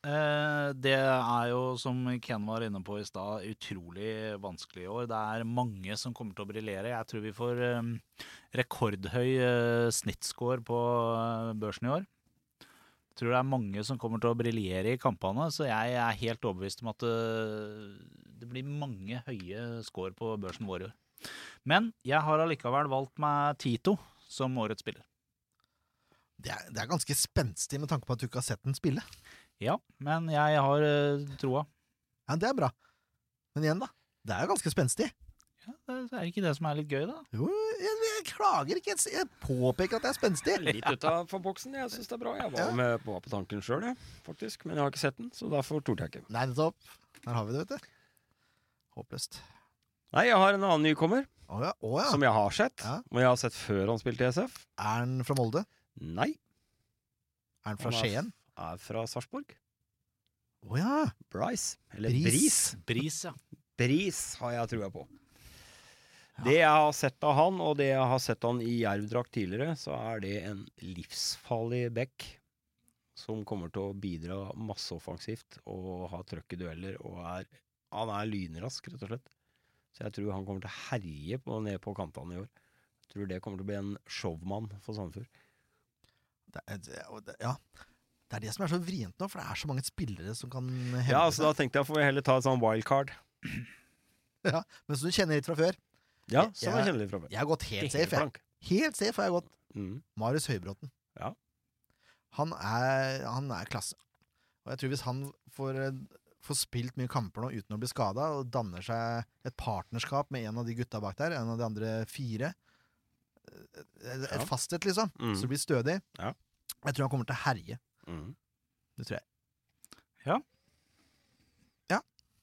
D: Eh, det er jo, som Ken var inne på i stad, utrolig vanskelig i år. Det er mange som kommer til å briljere. Jeg tror vi får eh, rekordhøy eh, snittscore på eh, børsen i år. Jeg tror det er mange som kommer til å briljere i kampene, så jeg er helt overbevist om at eh, det blir mange høye score på børsen vår i år. Men jeg har allikevel valgt meg Tito som årets spiller.
C: Det er, det er ganske spenstig med tanke på at du ikke har sett den spille.
D: Ja, men jeg har eh, troa.
C: Ja, Det er bra. Men igjen, da. Det er jo ganske spenstig.
D: Ja, det er ikke det som er litt gøy, da?
C: Jo, jeg, jeg klager ikke. Jeg, jeg påpeker at det er spenstig.
B: Litt utafor boksen. Jeg syns det er bra. Jeg var
C: Ja.
B: med på, på tanken sjøl, faktisk. Men jeg har ikke sett den, så derfor torde jeg ikke.
C: Nei, nettopp. Der har vi det, vet du. Håpløst.
B: Nei, jeg har en annen nykommer
C: Å ja. Å, ja.
B: som jeg har sett.
C: Ja.
B: Men jeg har sett før han spilte i SF.
C: Er han fra Molde?
B: Nei.
C: Er han fra
B: Han er-
C: Skien?
B: Er fra Sarpsborg.
C: Å ja.
B: Bryce. Eller
C: Bris.
B: Bris.
D: Bris, ja.
B: Bris har jeg trua på. Det jeg har sett av han, og det jeg har sett han i jervdrakt tidligere, så er det en livsfarlig back som kommer til å bidra masseoffensivt og ha trøkk i dueller. Og er, han er lynrask, rett og slett. Så jeg tror han kommer til å herje på, ned på kantene i år. Jeg tror det kommer til å bli en showmann for Sandefjord.
C: Det er, det, og det, ja. det er det som er så vrient nå, for det er så mange spillere som kan hevde
B: Ja, altså Da tenkte jeg får vi heller ta et sånn wildcard.
C: seg. Ja, men som du kjenner litt fra før.
B: Ja, som
C: Jeg-
B: jeg kjenner litt fra før.
C: Jeg har gått helt safe. Jeg.
B: blank.
C: Helt safe har jeg gått.
B: Mm.
C: Marius Høybråten.
B: Ja.
C: Han er, han er klasse. Og jeg tror hvis han får, eh, får spilt mye kamper nå uten å bli skada, og danner seg et partnerskap med en av de gutta bak der, en av de andre fire eh, Et et
B: Ja.
C: fasthet, liksom.
B: Mm.
C: Så det blir stødig.
B: Ja.
C: Jeg tror han kommer til å herje.
B: Mm.
C: Det tror jeg.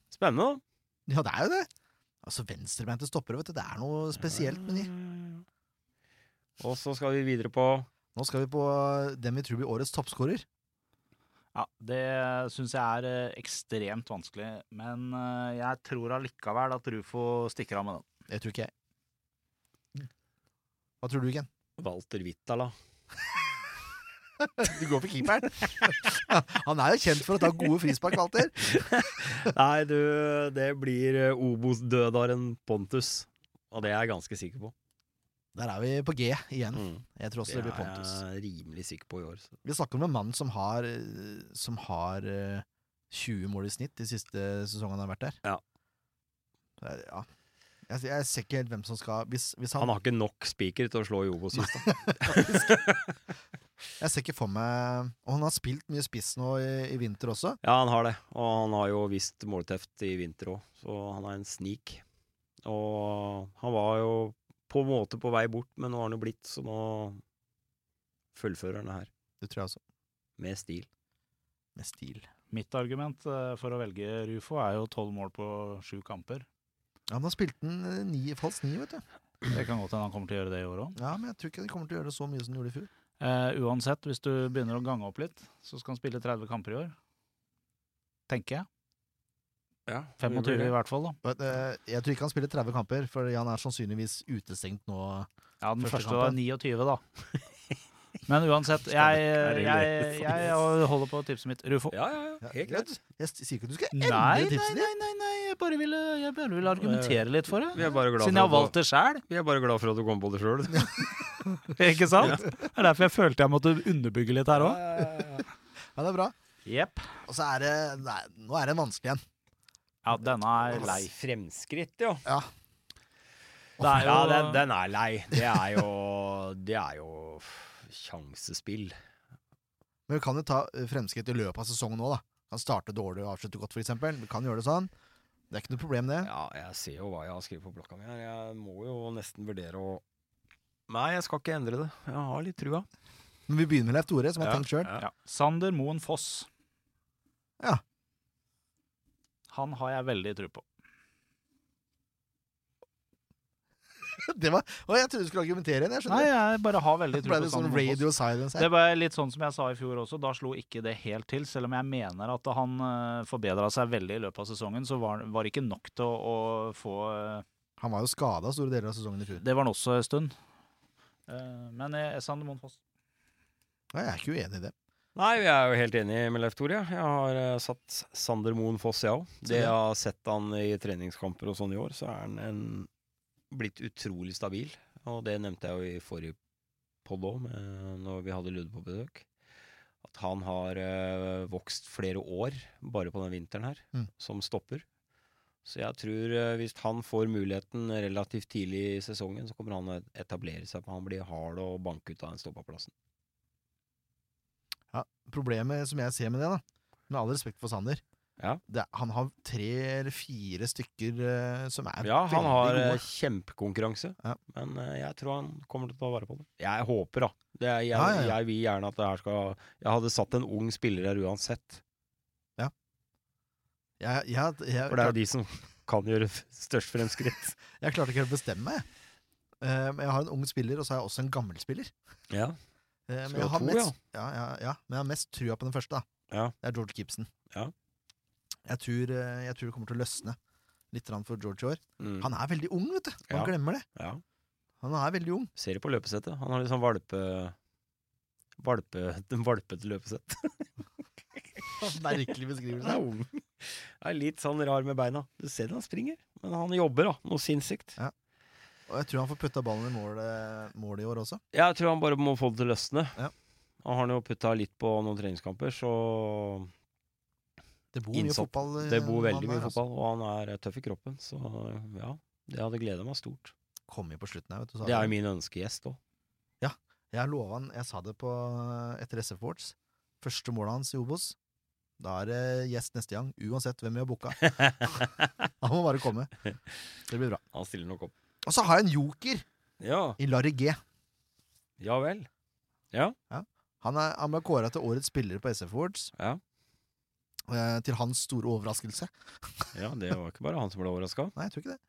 B: Spennende, da.
C: Ja, det er jo det! Altså, Venstrebeinte stoppere, vet du. Det er noe spesielt med de.
B: Og så skal vi videre på
C: Nå skal vi på dem vi tror blir årets toppskårer.
D: Ja, Det syns jeg er eh, ekstremt vanskelig. Men eh, jeg tror allikevel at Rufo stikker av med den.
C: Det tror ikke jeg. Hva tror du, Ken?
B: Walter Wittala.
C: Du går for keeperen. Han er jo kjent for å ta gode frispark, Walter.
B: Nei, du, det blir eh, Obos-dødaren Pontus. Og det er jeg ganske sikker på.
C: Der er vi på G igjen.
B: Mm.
C: Jeg tror også det blir Pontus.
B: er jeg rimelig sikker på i år. Så.
C: Vi snakker om en mann som har, eh, som har eh, 20 mål i snitt de siste sesongene han har vært der.
B: Ja.
C: Det er- ja. Jeg, jeg ser ikke helt hvem som skal Hvis, hvis han,
B: Han har ikke nok spiker til å slå i Obos sist. da.
C: Jeg ser ikke for meg Og han har spilt mye spiss nå i, i vinter også.
B: Ja, han har det. Og han har jo visst målteft i vinter òg, så han er en snik. Og han var jo på en måte på vei bort, men nå har han jo blitt, så nå fullfører han det her.
C: Det tror jeg også.
B: Med stil.
C: Med stil.
D: Mitt argument eh, for å velge Rufo er jo tolv mål på sju kamper.
C: Ja, men han spilte den eh, ni, falsk ni, vet du.
D: Det kan godt hende han kommer til å gjøre det i år òg.
C: Ja, Men jeg tror ikke de kommer til å gjøre det så mye som de gjorde i fjor.
D: Eh, uansett, hvis du begynner å gange opp litt, så skal han spille 30 kamper i år. Tenker jeg.
B: Ja,
D: 25 i hvert fall, da.
C: Men, eh, jeg tror ikke han spiller 30 kamper, for han er sannsynligvis utestengt nå.
D: Ja, den
C: Første
D: første, var
C: kampen.
D: 29, da. Men uansett, jeg, jeg, jeg, holder på tipset mitt. Rufo.
B: Ja, ja, ja. Helt
C: Ja,
B: greit.
C: Jeg s- sier ikke at du skal
D: Nei,
C: endre
D: nei,
C: tipset ditt!
D: nei, nei, nei, jeg bare ville, jeg bare ville argumentere litt for
B: Vi
D: det.
B: er bare glad
D: Siden jeg har
B: for at
D: valgt det sjæl,
B: du- vi er bare glad for at du kom på det sjøl.
D: ikke sant? Det er derfor jeg følte jeg måtte underbygge litt her òg.
C: Ja, det er bra.
D: Jepp.
C: Og så er det nei, Nå er det en vanskelig en.
D: Ja, denne er lei.
B: Fremskritt, ja.
D: Det er
B: ja den,
D: jo
B: den er lei. Det er jo Det er jo sjansespill.
C: Men vi kan jo ta eh, fremskritt i løpet av sesongen nå, da. Kan starte dårlig og avslutte godt, for eksempel. Vi kan gjøre det sånn. Det er ikke noe problem, det.
B: Ja, jeg ser jo hva jeg har skrevet på blokka mi her. Jeg må jo nesten vurdere å Nei, jeg skal ikke endre det. Jeg har litt trua.
C: Men vi begynner med Leif Tore, som har
B: Ja.
C: tenkt sjøl.
D: ja. Sander Moen Foss.
C: Ja.
D: Han har jeg veldig tro på.
C: Det var Å, jeg trodde du skulle argumentere igjen, jeg
D: Nei,
C: skjønner.
D: jeg bare har veldig tro
C: Ble
D: på
C: det sånn
D: Sander Moen Foss.
C: radio silence
D: Det
C: her?
D: var litt sånn som jeg sa i fjor også, da slo ikke det helt til. Selv om jeg mener at han forbedra seg veldig i løpet av sesongen, så var var det ikke nok til å, å få eh,
C: Han var jo skada store deler av sesongen i fjor.
D: Det var han også en stund. Eh, Men eh, Sander Moen Foss
C: Nei, jeg er ikke uenig i det.
B: Nei, jeg er jo helt enig med Leif Tore. Jeg har eh, satt Sander Moen Foss, jeg òg. Det jeg har sett han i treningskamper og sånn i år, så er han en, blitt utrolig stabil. Og det nevnte jeg jo i forrige podd òg, når vi hadde Ludde på besøk. At han har eh, vokst flere år bare på den vinteren her,
C: Mm.
B: som stopper. Så jeg tror eh, hvis han får muligheten relativt tidlig i sesongen, så kommer han å etablere seg på Han blir hard og banke ut av den stoppaplassen.
C: Problemet som jeg ser med det, da, med all respekt for Sander
B: Ja.
C: det, Han har tre eller fire stykker eh, som er
B: Ja, han
C: veldig
B: har eh,
C: gode.
B: kjempekonkurranse,
C: Ja.
B: men eh, jeg tror han kommer til å ta vare på det. Jeg håper, da. Det er, jeg,
C: Ja, ja, ja.
B: jeg vil gjerne at det her skal Jeg hadde satt en ung spiller her uansett.
C: Jeg, jeg, jeg,
B: For det er jo de som kan gjøre f- størst fremskritt.
C: Jeg klarte ikke helt å bestemme meg. jeg. Eh, Men jeg har en ung spiller, og så har jeg også en gammel spiller.
B: Ja.
C: Eh,
B: Så
C: Men
B: du
C: jeg
B: har
C: har
B: to,
C: mest, ja, ja, ja, men jeg har mest trua på den første. da.
B: Ja.
C: Det er George Gibson.
B: Ja.
C: Jeg, tror, eh, jeg tror det kommer til å løsne litt grann for George i år.
B: Mm.
C: Han er veldig ung, vet du. Man
B: Ja.
C: glemmer det.
B: ja.
C: Han er veldig ung.
B: Ser det på løpesettet. Han har litt sånn valpe... Valpe, valpete løpesett.
C: Merkelig
B: Han er
C: beskrivelse.
B: ung. Er litt sånn rar med beina. Du ser det han springer, men han jobber, da. Noe sinnssykt.
C: Og jeg tror han får putta ballen i mål, eh, mål i år også.
B: Jeg tror han bare må få det til å løsne.
C: Ja.
B: Han har jo putta litt på noen treningskamper, så
C: Det bor
B: Innsatt.
C: mye fotball. eh,
B: det bor
C: han
B: veldig
C: der,
B: mye
C: altså.
B: fotball. Og han er eh, tøff i kroppen, så ja. Det hadde gleda meg stort.
C: Kom jo på slutten her, vet du. så
B: Det er
C: han-
B: jo min ønskegjest òg.
C: Jeg lova han, jeg sa det på eh, etter SF Awards. Første målet hans i Obos. Da er det gjest neste gang, uansett hvem vi har booka. Han må bare komme. Det blir bra.
B: Han stiller nok opp.
C: Og så har jeg en joker
B: Ja,
C: i Larry G.
B: ja vel.
C: Han, er, han ble kåra til årets spiller på SF Awards.
B: Ja.
C: Eh, til hans store overraskelse.
B: Ja, det var ikke bare han som ble overraska.
C: Nei, jeg tror ikke det.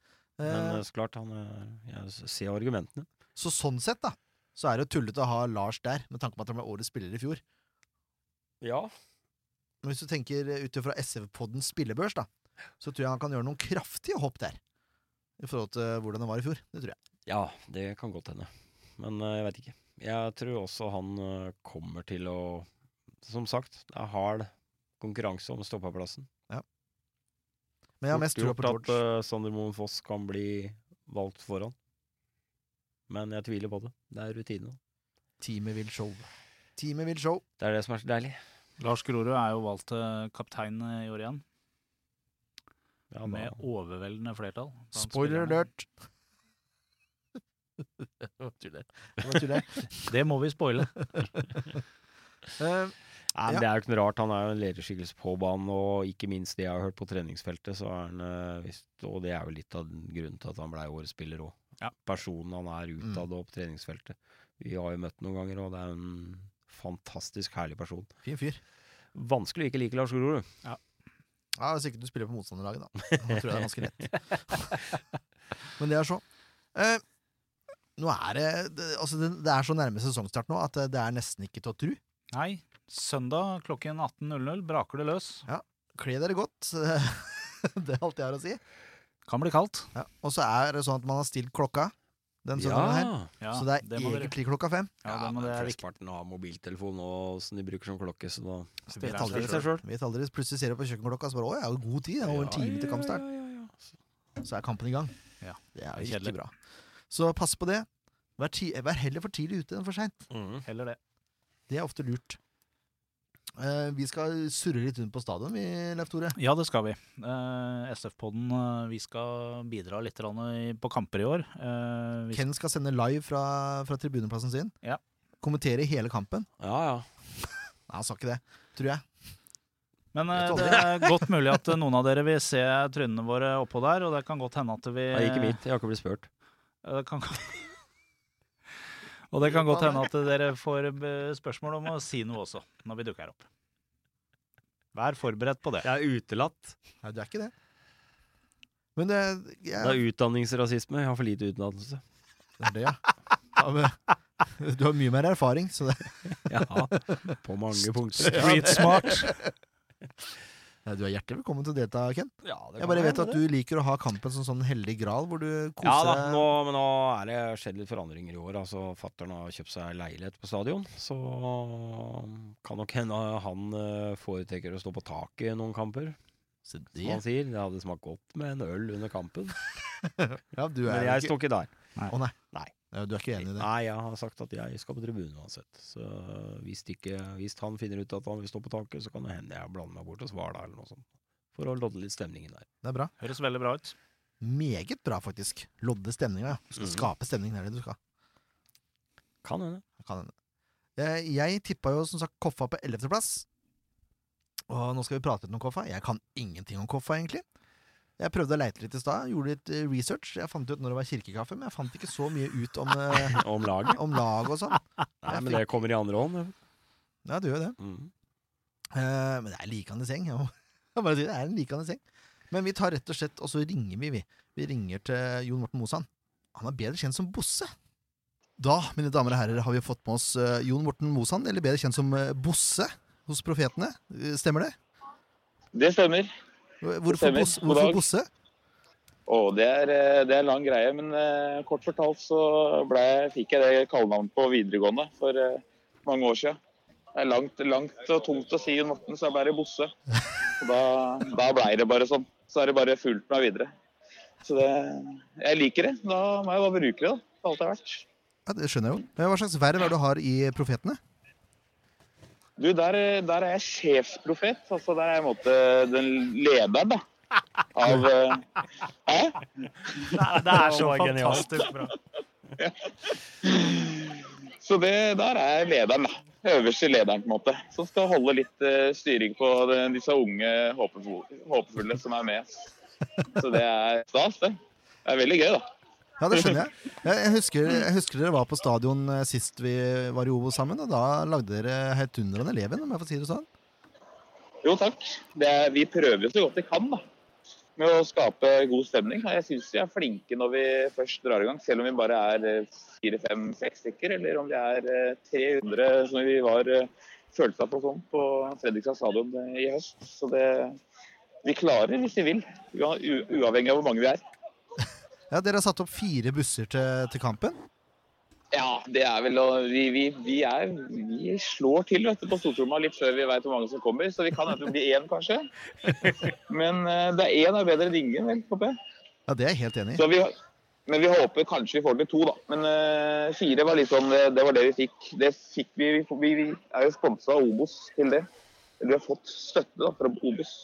C: Eh,
B: Men eh, så klart, han eh, Jeg s- ser argumentene.
C: så sånn sett, da, så er det jo tullete å ha Lars der, med tanke på at han ble årets spiller i fjor.
B: Ja.
C: Men hvis du tenker ut ifra SV-poddens spillebørs, da, så tror jeg han kan gjøre noen kraftige hopp der. I forhold til hvordan det var i fjor. Det tror jeg.
B: Ja, det kan godt hende. Men eh, jeg veit ikke. Jeg tror også han eh, kommer til å Som sagt, det er hard konkurranse om stoppaplassen.
C: Men jeg har mest trua på
B: Fort gjort
C: George.
B: at eh, Sander Moen Foss kan bli valgt foran. Men jeg tviler på det. Det er rutine. eh,
C: Teamet vil show. Teamet vil show.
B: Det er det som er så deilig.
D: Lars Grorud er jo valgt til kaptein eh, i år igjen,
B: Ja,
D: med
B: da,
D: overveldende flertall. blant
C: Spoiler
D: spillerne.
C: alert! Det var tull, det.
D: Det må vi spoile.
C: Eh,
B: Nei,
C: ja.
B: men Det er jo ikke noe rart. Han er jo en lederskikkelse på banen, og ikke minst det jeg har hørt på treningsfeltet, så er han eh, visst, Og det er jo litt av grunnen til at han blei årets spiller òg.
D: Ja.
B: Personen han er
C: Mm.
B: utad og på treningsfeltet. Vi har jo møtt noen ganger, og det er en fantastisk herlig person.
C: Fin fyr.
B: Vanskelig å ikke like Lars Grorud.
C: Ja, Hvis ikke du spiller på motstanderlaget, da. Da tror jeg det er ganske lett. Men det er så. Eh, nå er det, det Altså, det, det er så nærme sesongstart nå at eh, det er nesten ikke til å tru.
D: Nei, søndag klokken 18.00 braker det løs.
C: Kle dere godt. det er alt jeg har å si.
D: Kan bli kaldt.
C: Ja. Og så er det sånn at man har stilt klokka den søndagen her.
D: Ja,
C: så det er
D: må dere-
C: egentlig klokka fem.
D: ja, det, må, det er viktig.
B: Flesteparten har mobiltelefon og som de bruker som klokke, så da
C: Så
D: Det
C: vet
D: er
C: aldri,
D: seg
C: selv. vet aldri. Plutselig ser du på kjøkkenklokka og så bare 'Å, jeg har jo god tid'. Det er over en time til kampstart.
B: Ja, ja, ja, ja. Så-
C: Så er kampen i gang.
D: Ja,
C: Det er jo
D: det er
C: ikke
D: kjedelig.
C: bra. Så pass på det. Vær, ti vær heller for tidlig ute enn for seint.
B: Mhm.
D: Heller det.
C: Det er ofte lurt. Eh, vi skal surre litt rundt på stadion, vi, Leif Tore.
D: Ja, det skal vi. Eh, SF-podden, eh, vi skal bidra litt grann i- på kamper i år. Eh, vi
C: Ken skal sende live fra, fra tribuneplassen sin.
D: Ja.
C: Kommentere hele kampen.
B: ja, ja.
C: Nei, han sa ikke det, tror jeg.
D: Men eh,
C: Vet
D: det er godt mulig at eh, noen av dere vil se trynene våre oppå der, og det kan godt hende at vi
B: Nei, ikke mitt. Jeg har ikke blitt spurt.
D: Eh, det kan... Og det kan godt hende at dere får eh, spørsmål om å si noe også, når vi dukker opp. Vær forberedt på det.
B: Jeg er utelatt.
C: Nei, du er ikke det. Men eh, det, jeg,
B: Det er utdanningsrasisme. Jeg har for lite utdannelse.
C: det er det, ja. ja men, du har mye mer erfaring, så det,
B: Ja, på mange punkter.
D: Street smart.
C: Nei, du er hjertelig velkommen til å delta, Ken.
B: Ja, det
C: Jeg
B: kan
C: bare
B: hende
C: vet at
B: det.
C: du liker å ha kampen som sånn hellig gral, hvor du
B: ja da,
C: koser
B: nå,
C: deg.
B: men nå er det skjedd litt forandringer i år. Altså, Fattern har kjøpt seg leilighet på stadion, så kan nok hende han eh, foretrekker å stå på taket i noen kamper,
C: Så
B: som
C: det,
B: han sier. Det hadde smakt godt med en øl under kampen,
C: ja, du,
B: men
C: er
B: jeg
C: ikke,
B: står ikke der.
C: ja, du er ikke enig i det?
B: Nei, jeg har sagt at jeg skal på tribunen uansett. Så øh, hvis, ikke, hvis han finner ut at han vil stå på taket, så kan det hende jeg blander meg bort og svarer da, eller noe sånt. For å lodde litt stemningen der.
C: Det er bra.
D: Høres veldig bra ut.
C: Meget bra, faktisk. Lodde stemninga, ja. Du skal
B: Mhm.
C: skape stemning. Det er det du skal.
B: Kan hende.
C: Det Kan hende. Eh, Jeg tippa jo som sagt Koffa på 11.-plass. Og nå skal vi prate litt om Koffa. Jeg kan ingenting om Koffa, egentlig. Jeg prøvde å leite litt i stad, gjorde litt eh, research. Jeg fant ut når det var kirkekaffe, men jeg fant ikke så mye ut om, eh,
B: Om laget.
C: om lag og sånn.
B: Nei,
C: Jeg
B: men det kommer i andre hånd. det.
C: Ja, det gjør jo det.
B: Mm.
C: Eh, Men det er en likandes gjeng. Jeg må- jeg må bare si det er en likandes gjeng. Men vi tar rett og slett, og så ringer vi, vi. Vi ringer til Jon Morten Mosan. Han er bedre kjent som Bosse. Da, mine damer og herrer, har vi fått med oss eh, Jon Morten Mosan, eller bedre kjent som eh, Bosse hos Profetene. Eh, Stemmer det? Eh,
E: Det stemmer.
C: Hvorfor,
E: stemmer.
C: Bosse,
E: God dag.
C: hvorfor Bosse?
E: Og det er, eh, det er lang greie, men eh, kort fortalt så ble, fikk jeg det kallenavnet på videregående for eh, mange år siden. Det er langt, langt og tungt å si Jon Morten, så jeg ble det Bosse. Og Da, da blei det bare sånn. Så har det bare fulgt meg videre. Så det, jeg liker det. Da må jeg bare bruke det, da. For alt det er verdt.
C: Ja, det skjønner jeg jo. Men Hva slags verv er det du har i Profetene?
E: Du, der, der er jeg sjefsprofet. Altså, der er jeg i en måte den lederen, da. Av eh, Hæ?
F: Det er så fantastisk bra.
E: Så det, der er lederen, da. Øverste lederen, på en måte. Som skal holde litt eh, styring på de, disse unge håpefulle, håpefulle som er med. Så det er stas, det. Det er veldig gøy, da.
C: Ja, det skjønner jeg. Jeg jeg husker, jeg husker dere var på stadion eh, sist vi var i Ovo sammen, og da lagde dere heidundrende leven, om jeg får si det sånn.
E: Jo, takk. Det er, vi prøver jo så godt vi kan, da. Med å skape god stemning. Og jeg syns vi er flinke når vi først drar i gang. Selv om vi bare er eh, fire-fem-seks stykker, eller om vi er eh, 300 som vi var eh, følte at på sånn på Fredrikstad stadion eh, i høst. Så det Vi klarer hvis vi vil. ua- u- Uavhengig av hvor mange vi er.
C: Ja, Dere har satt opp fire busser til, til kampen.
E: Ja, det er vel å Vi, vi, vi, er, vi slår til vet du, på stortromma litt før vi vet hvor mange som kommer, så vi kan enten bli én, kanskje. Men eh, det er én er bedre enn ingen, vel, håper jeg.
C: Ja, Det er jeg helt enig i.
E: Så vi, men vi håper kanskje vi får til to, da. Men eh, fire var liksom det, det var det vi fikk. Det fikk vi, vi, vi er jo sponsa av Obos til det. Eller vi har fått støtte da, fra Obos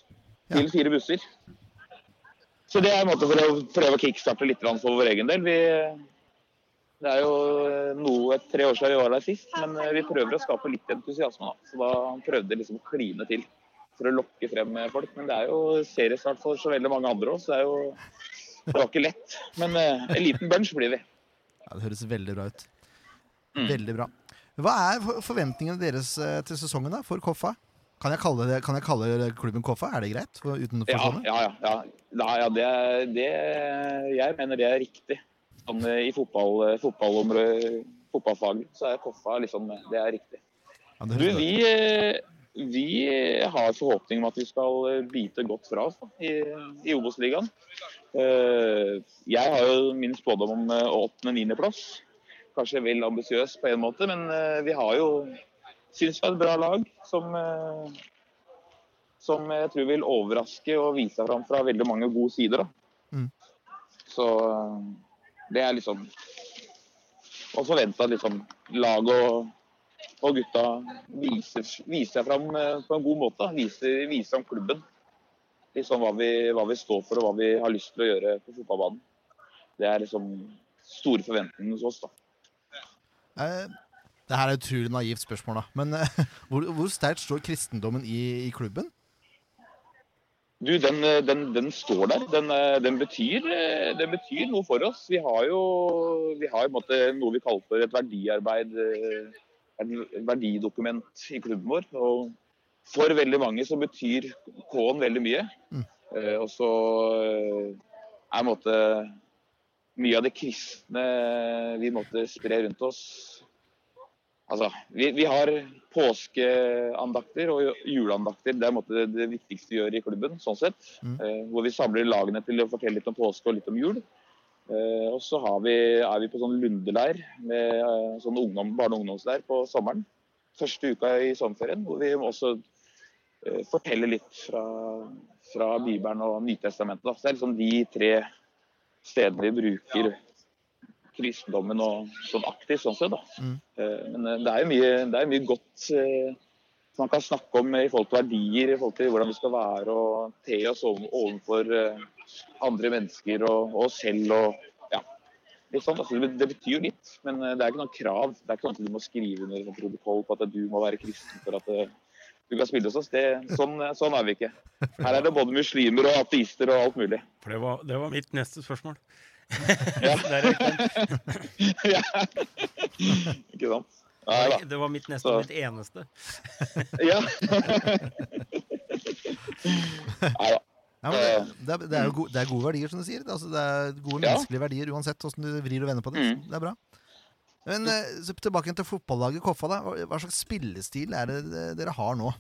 E: til fire busser. Så det er en måte for å prøve å kickstarte litt grann for vår egen del. Vi, det er jo eh, noe et tre år siden vi var der sist, men eh, vi prøver å skape litt entusiasme. da. Så da prøvde vi liksom å kline til for å lokke frem eh, folk. Men det er jo seriestart for så veldig mange andre òg, så det er jo det var ikke lett, men eh, en liten bunch blir vi.
C: Ja, Det høres veldig bra ut.
E: Mm.
C: Veldig bra. Hva er for- forventningene deres eh, til sesongen da, for Koffa? Kan jeg kalle, det, kan jeg kalle klubben Koffa? Er det greit? For, uten
E: Ja,
C: forstående?
E: ja, ja. ja. ja, ja det, er- det, jeg mener det er riktig. Sånn, eh, I fotball, eh, fotballområdet, fotballfag, så er Koffa liksom eh, Det er riktig.
C: Ja, det høres
E: Du,
C: bra ut.
E: vi, eh, vi eh, har forhåpning om at vi skal eh, bite godt fra oss da, i, i Obos-ligaen. Eh, Jeg har jo min spådom om eh, åttende- niendeplass. Kanskje vel ambisiøs på en måte, men eh, vi har jo syns vi er et bra lag som eh, som jeg tror vil overraske og vise seg fram fra veldig mange gode sider. Da.
C: Mm.
E: Så eh, det er liksom Og forvente at liksom lag og, og gutta viser, viser seg fram eh, på en god måte. da. Viser, viser fram klubben. Liksom hva vi, hva vi står for og hva vi har lyst til å gjøre på fotballbanen. Det er liksom store forventninger hos oss. da.
C: Eh, Det her er et utrolig naivt spørsmål, da. Men eh, hvor, hvor sterkt står kristendommen i, i klubben?
E: Du, den, eh, den, den står der. Den, eh, den, betyr, eh, den betyr noe for oss. Vi har jo vi har i en måte noe vi kaller for et verdiarbeid, eh, et verdidokument i klubben vår. Og for veldig mange så betyr K-en veldig mye.
C: Mm.
E: Eh, Og så eh, er i en måte mye av det kristne vi i en måte sprer rundt oss. Altså, vi, vi har påskeandakter og ju- juleandakter. Det er i en måte det viktigste vi gjør i klubben, sånn sett.
C: Mm.
E: Eh, hvor vi samler lagene til å fortelle litt om påske og litt om jul. Eh, og så har vi, er vi på sånn lundeleir, med, eh, sånn ungdom, barne- og ungdomsleir på sommeren. Første uka i sommerferien, hvor vi også eh, forteller litt fra, fra Bibelen og Nytestamentet. Da. Så det er liksom de tre stedene vi bruker kristendommen og sånn aktivt, sånn sett. da. Eh, Men eh, det er jo mye, det er mye godt eh, som man kan snakke om eh, i forhold til verdier, i forhold til hvordan vi skal være og te oss ov- overfor eh, andre mennesker og og oss selv. og ja, litt sånn. Altså, det bet- det betyr jo litt, men eh, det er ikke noe krav. Det er ikke sånn at du må skrive under et protokoll på at eh, du må være kristen for at eh, du kan spille hos oss. Det, sånn, sånn er vi ikke. Her er det både muslimer og ateister og alt mulig.
F: For det var, det var mitt neste spørsmål.
E: Ja.
F: Der gikk den.
E: Ja. ikke sant? Nei da.
F: Det var mitt neste
E: Så.
F: og mitt eneste.
E: Ja. Nei da.
C: Nei, men det, det, er- det, er jo gode, det er gode verdier, som du sier. Det, altså, det er gode
E: Eh, Ja.
C: menneskelige verdier uansett hvordan du vrir og vender på det.
E: Mm.
C: Det er bra. Men eh, så tilbake igjen til fotballaget Koffa. da Hva hva slags spillestil er det de- dere har nå?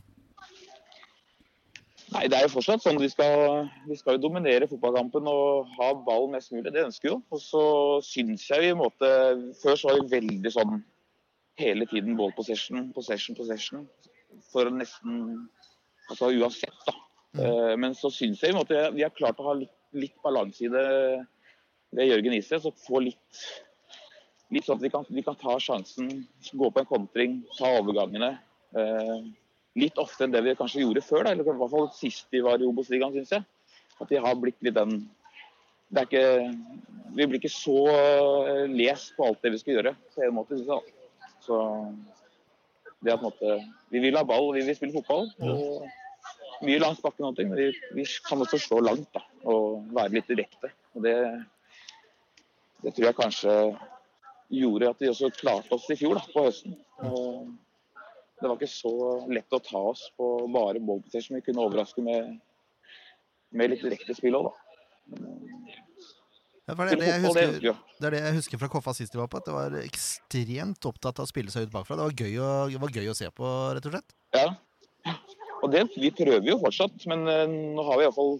E: Nei, det er jo fortsatt sånn at vi skal, vi skal jo dominere fotballkampen og ha ball mest mulig. Det ønsker vi jo. Og så syns jeg vi i en måte Før så var vi veldig sånn hele tiden ball possession, possession, possession. For å nesten Altså uansett, da. Eh, Men så syns jeg i en måte vi har klart å ha litt, litt balanse i det ved Jørgen Isnes. Og få litt Litt sånn at vi kan, vi kan ta sjansen, gå på en kontring, ta overgangene. Eh, litt oftere enn det vi kanskje gjorde før. Da, eller i hvert fall sist vi var i Obos-ligaen, syns jeg. At de har blitt litt den det er ikke, Vi blir ikke så eh, lest på alt det vi skal gjøre, på en måte, syns jeg. da. Så det er på en måte Vi vil ha ball, vi vil spille fotball. og Mye langs bakken, og sånne ting, men vi, vi kan også slå langt da, og være litt direkte. og det, det tror jeg kanskje gjorde at vi også klarte oss i fjor da, på høsten. Og det var ikke så lett å ta oss på bare ball possession. Vi kunne overraske med, med litt direkte spill òg, da.
C: Ja, for det, er det,
E: Spille
C: jeg
E: fotball, det
C: husker,
E: ønsker vi jo.
C: det er det jeg husker fra Koffa sist de var på, at det var ekstremt opptatt av å spille seg ut bakfra. Det var gøy å, det var gøy å se på, rett og slett.
E: Ja. Og det, vi prøver jo fortsatt, men eh, nå har vi iallfall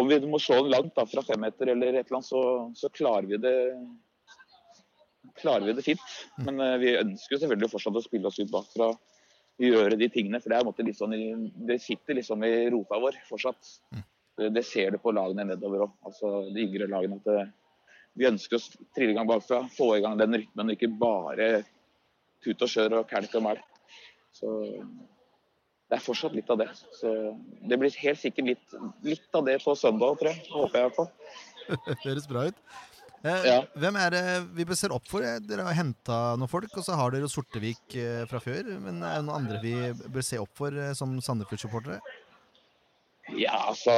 E: Om vi må slå den langt da, fra femmeter eller et eller annet, så, så klarer vi det klarer vi det fint. Men eh, vi ønsker jo selvfølgelig fortsatt å spille oss ut bakfra. Gjøre de tingene, for det, er på en måte litt sånn, i- det sitter liksom i rota vår fortsatt. Det, det ser du på lagene nedover òg, altså de yngre lagene. at det, Vi ønsker å trille i gang bakfra, få i gang den rytmen, og ikke bare tut og kjør og kelk og mæl. Så det er fortsatt litt av det. Så det blir helt sikkert litt, litt av det på søndag, tror jeg. Håper jeg i hvert fall.
C: Høres bra ut. Eh,
E: Ja.
C: Hvem er det vi bør se opp for? Eh, Dere har henta noen folk, og så har dere jo Sortevik eh, fra før. Men er det noen andre vi bør se opp for eh, som Sandefjord-supportere?
E: Ja, altså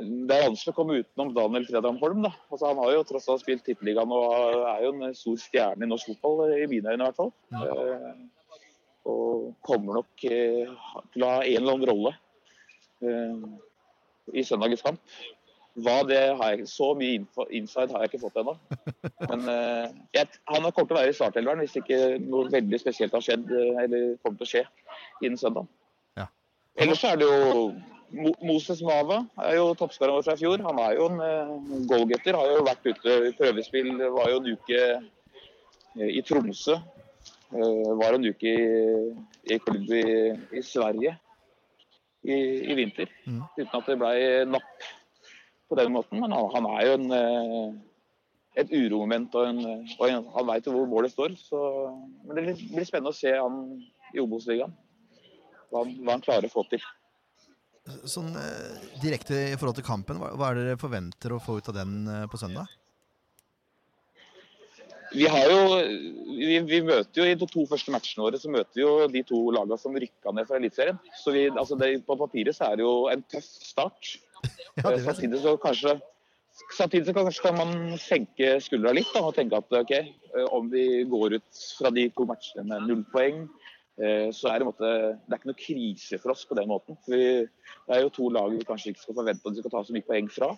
E: Det er vanskelig å komme utenom Daniel Fredheim Holm, da. Altså, han har jo tross alt spilt Tippeligaen og er jo en stor stjerne i norsk fotball, i mine øyne i hvert fall. Eh, Og kommer nok eh, til å ha en eller annen rolle eh, i søndagens kamp. Hva det har jeg, Så mye info, inside har jeg ikke fått ennå. Men eh, jeg, han kommer til å være i startelveren hvis ikke noe veldig spesielt har skjedd eh, eller kommer til å skje innen søndag.
C: Ja.
E: Ellers er det jo Mo- Moses Mava er jo toppskåreren vår fra i fjor. Han er jo en eh, goalgetter. Har jo vært ute i prøvespill. Var jo en uke eh, i Tromsø. Eh, Var en uke i, i klubb i, i Sverige i, i vinter.
C: Mhm.
E: Uten at det ble napp på den måten. Men han, han er jo en, eh, et uromoment, og, en, og en, han veit jo hvor målet står. Så, men det blir- blir spennende å se han i Obos-ligaen. Hva, han- hva han klarer å få til.
C: Sånn eh, direkte i forhold til kampen, hva, hva er det dere forventer å få ut av den eh, på søndag?
E: Vi har jo vi, vi møter jo i de to første matchene våre så møter vi jo de to lagene som rykka ned fra Eliteserien. Så vi, altså det, på papiret så er det jo en tøff start.
C: Ja,
E: Eh,
C: det vet jeg.
E: samtidig så kanskje Samtidig så kanskje kan man senke skuldra litt da, og tenke at ok, eh, om vi går ut fra de to matchene med null poeng, eh, så er det, en måte, det er ikke noe krise for oss på den måten. For vi, det er jo to lag vi kanskje ikke skal forvente at vi skal ta så mye poeng fra.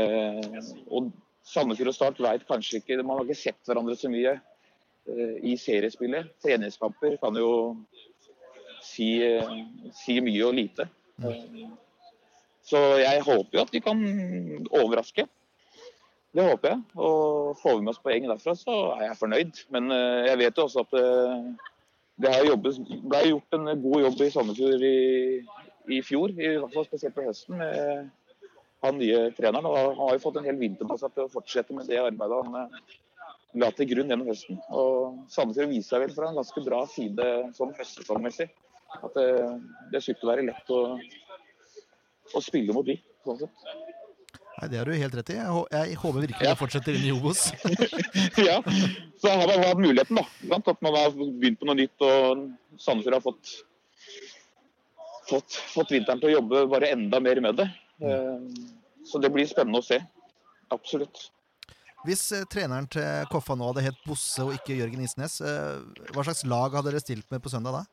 E: Eh, og Sandefjord og Start vet kanskje ikke Man har ikke sett hverandre så mye eh, i seriespillet. Treningskamper kan jo si, eh, si mye og lite. Eh, så jeg håper jo at vi kan overraske. Det håper jeg. Og får vi med oss poeng derfra, så er jeg fornøyd. Men eh, jeg vet jo også at eh, det har jobbes, ble gjort en god jobb i Sandefjord i, i fjor, i hvert fall spesielt på høsten. med han nye treneren og han har jo fått en hel vinter på seg til å fortsette med det arbeidet han eh, la til grunn gjennom høsten. Og Sandefjord viser seg vel fra en ganske bra side sånn høstsesongmessig. At det, det er sykt å være lett å, å spille mot de. Sånn sett.
C: Nei, det har du helt rett i. Jeg, hå- jeg håper virkelig
E: Ja.
C: det fortsetter inn i Obos.
E: ja. Så har man hatt muligheten, da. ikke sant? At man har begynt på noe nytt. Og Sandefjord har fått, fått, fått vinteren til å jobbe bare enda mer med det. Eh, Så det blir spennende å se. Absolutt.
C: Hvis eh, treneren til Koffa nå hadde hett Bosse og ikke Jørgen Isnes, eh, hva slags lag hadde dere stilt med på søndag da?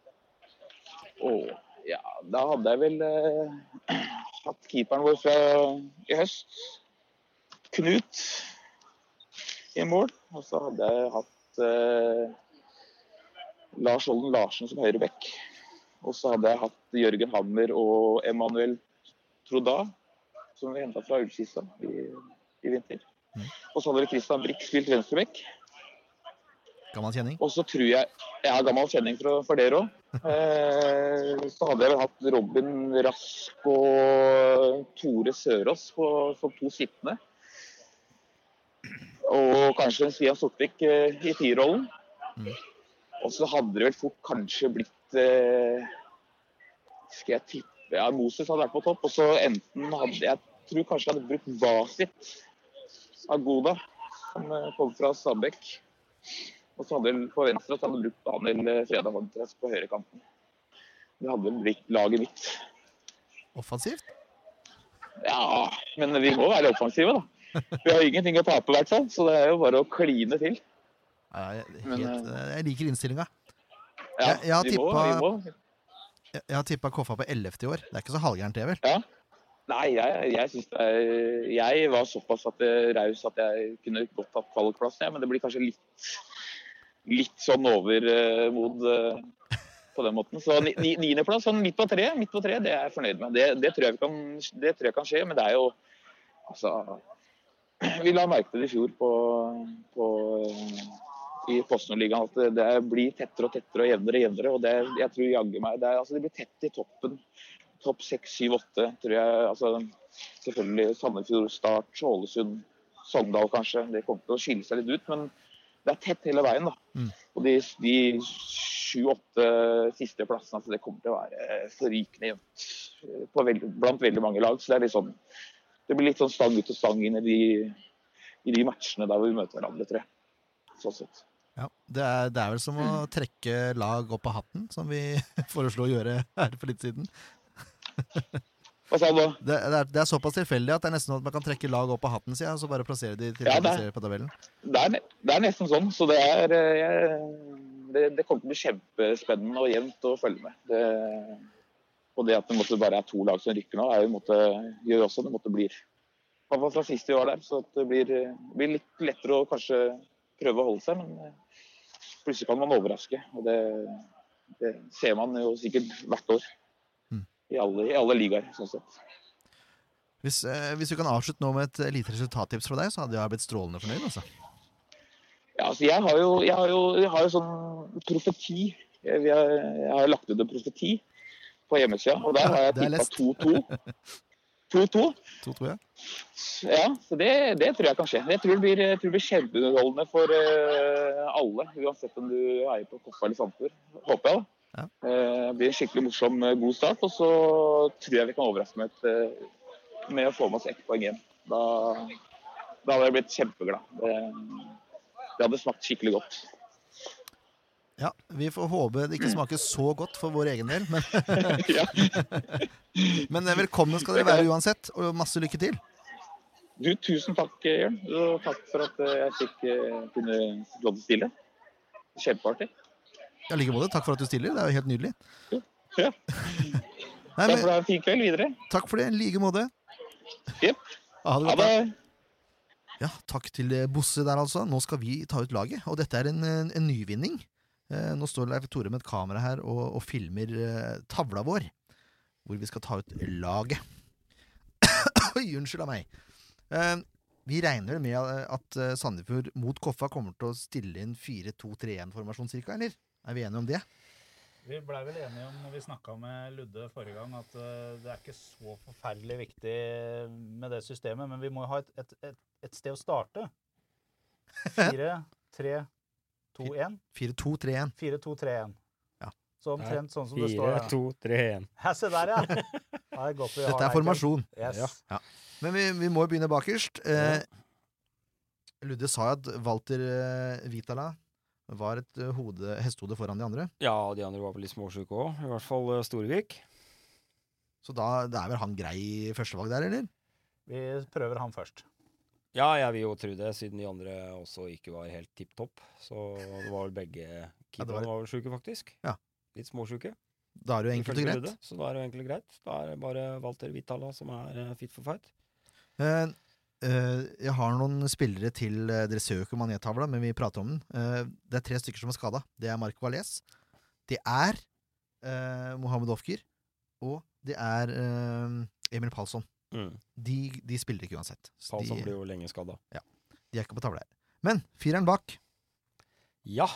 E: Åh, ja, da hadde jeg vel eh, hatt keeperen vår fra i høst, Knut, i mål. Og så hadde jeg hatt eh, Lars Olden Larsen som høyreback. Og så hadde jeg hatt Jørgen Hammer og Emanuel Troda, som vi henta fra Ullkista i, i vinter. Og så hadde vel Christian Brix spilt venstreback.
C: Gammel kjenning.
E: Og så tror jeg Jeg har gammel kjenning for, for dere òg. Eh, så hadde jeg vel hatt Robin Rask og Tore Sørås på, som to sittende. Og kanskje en Stian Sortvik eh, i tierrollen.
C: Mhm.
E: Og så hadde det vel fort kanskje blitt eh, Skal jeg tippe Ja, Moses hadde vært på topp. Og så enten hadde Jeg tror kanskje jeg hadde brukt Vasit Agoda, som eh, kom fra Stabæk. Og så hadde på venstre så hadde han brukt Daniel Freda Håndtress på høyrekanten. Det hadde vel blitt laget mitt.
C: Offensivt.
E: Ja, men vi må være offensive, da. Vi har ingenting å tape, i hvert fall. Så det er jo bare å kline til.
C: Ja, jeg-
E: Men,
C: helt, eh, jeg liker innstillinga.
E: Ja,
C: Jeg- jeg har
E: vi må,
C: tippa-
E: vi må.
C: Jeg, jeg har tippa Koffa på 11. i år. Det er ikke så halvgærent, det vel?
E: Nei, jeg, jeg syns det er Jeg var såpass at jeg- raus at jeg kunne godt hatt kvalikplass, jeg. Men det blir kanskje litt, litt sånn overmod eh, på den måten. Så ni- ni- niendeplass, sånn midt på treet, midt på treet, det er jeg fornøyd med. Det, det, tror jeg vi kan, det tror jeg kan skje, men det er jo Altså Vi la merke til det i fjor på, på eh, i Postnordligaen at det- det blir tettere og tettere og jevnere og jevnere. Og det, jeg tror jaggu meg det, er, altså, det blir tett i toppen topp seks, syv, åtte, tror jeg. Altså, selvfølgelig Sandefjord, Start, Ålesund, Sogndal kanskje. Det kommer til å skille seg litt ut, men det er tett hele veien. da.
C: Mm.
E: Og de, de sju-åtte siste plassene, altså, det kommer til å være forrykende jevnt eh, på veld- blant veldig mange lag. Så det er litt sånn Det blir litt sånn stang ut og stang inn i de, i de matchene der hvor vi møter hverandre, tror jeg. Sånn sett.
C: Ja, det er, det er vel som å trekke lag opp av hatten, som vi foreslo å gjøre her for litt siden.
E: Hva sa du?
C: Det, det, er, det er såpass tilfeldig at det er nesten sånn at man kan trekke lag opp av hatten, sier jeg, og så bare plassere de til
E: Ja,
C: de
E: det er-
C: plasserer på tabellen.
E: det er, ne- det er nesten sånn. Så det er eh, jeg, det, det kommer til å bli kjempespennende og jevnt å følge med. Det, og det at det måtte bare er to lag som rykker nå, er jo en måte, gjør jo også at det måtte bli I hvert fall fra sist vi var der, så at det blir, eh, blir litt lettere å kanskje prøve å holde seg. Men eh, plutselig kan man overraske. Og det, det ser man jo sikkert hvert år.
C: Mm.
E: I alle, i alle ligaer, sånn sett.
C: Hvis, eh, hvis du kan avslutte nå med et eh, lite resultattips fra deg, så hadde jeg blitt strålende fornøyd. Altså.
E: Ja, altså jeg har jo, jeg har jo, jeg har jo sånn profeti. Jeg, vi har, jeg har lagt ut en profeti på hjemmesida, og der har jeg
C: Det er lest.
E: tippa 2-2. 2-2.
C: To, tror jeg.
E: Ja, så det, det tror jeg kan skje. Jeg tror det blir, jeg tror det blir kjempeunderholdende for eh, alle, uansett om du eier på Koffa eller Sandfjord. Håper jeg, da.
C: Ja.
E: Eh, det blir en skikkelig morsom, eh, god start. Og så tror jeg vi kan overraske med, et, eh, med å få med oss ett poeng igjen. Da, da hadde jeg blitt kjempeglad. Det, det hadde smakt skikkelig godt.
C: Ja, vi får håpe det ikke smaker så godt for vår egen del, men,
E: Mm. ja.
C: men eh, velkomne skal dere være uansett, og masse lykke til.
E: Du, tusen takk, eh, Jørn. Og takk for at eh, jeg fikk eh, kunne få lov til å stille. Kjempeartig.
C: Ja, like måte. Takk for at du stiller, det er jo helt nydelig.
E: Ja.
C: Nei,
E: Takk for
C: men,
E: det. Ha en fin kveld videre.
C: takk for det, i like måte.
E: Jep.
C: Ha det
E: Ha
C: godt. da.
E: det.
C: Ja, takk til eh, Bosse der, altså. Nå skal vi ta ut laget, og dette er en, en, en nyvinning. Eh, nå står Leif Tore med et kamera her og, og filmer eh, tavla vår, hvor vi skal ta ut laget. Oi, unnskyld av meg. Eh, vi regner vel med eh, at eh, Sandefjord mot Koffa kommer til å stille inn 4-2-3-1-formasjon cirka, eller? Er vi enige om det?
D: Vi blei vel enige om når vi snakka med Ludde forrige gang, at eh, det er ikke så forferdelig viktig med det systemet, men vi må jo ha et, et, et, et sted å starte. Fire, tre, to, én.
C: 4-2-3-1.
D: Fire, to, tre, én.
C: Ja.
D: Så omtrent sånn som det står
F: Fire,
D: her.
F: to, tre, én.
D: Ja, se der, ja. ja det er godt vi har
C: Dette
D: deg,
C: er formasjon.
D: Kjell. Yes.
C: Men vi, vi må jo begynne bakerst. Eh, Ludde sa jo at Walter eh, Vitala var et eh, hode, hestehode foran de andre.
B: Ja, de andre var vel litt småsjuke òg. I hvert fall
F: øh,
B: eh, Storvik.
C: Så da da er vel han grei i førstevalg der, eller?
D: Vi prøver han først.
B: Ja, jeg vil jo tro det, siden de andre også ikke var helt tipp topp. Så det var vel begge
C: det var-
B: keeperne var vel sjuke, faktisk.
C: Ja.
B: Litt småsjuke.
C: Da er det jo enkelt og
B: Ifølge
C: greit.
B: Rudde, Så da er det jo egentlig greit. Da er det bare Walter Vitala som er eh, fit for fight.
C: Eh, eh, jeg har noen spillere til eh, Dere ser jo ikke manettavla, men vi prater om den. Eh, det er tre stykker som er skada. Det er Mark Valles, det er eh, Mohammed Ofker, og det er eh, Emil Palsson.
B: Mm.
C: De, de spiller ikke uansett. Så
B: Palsson
C: de,
B: blir jo lenge skada.
C: de er ikke på tavla her. Men fireren bak.
B: Ja.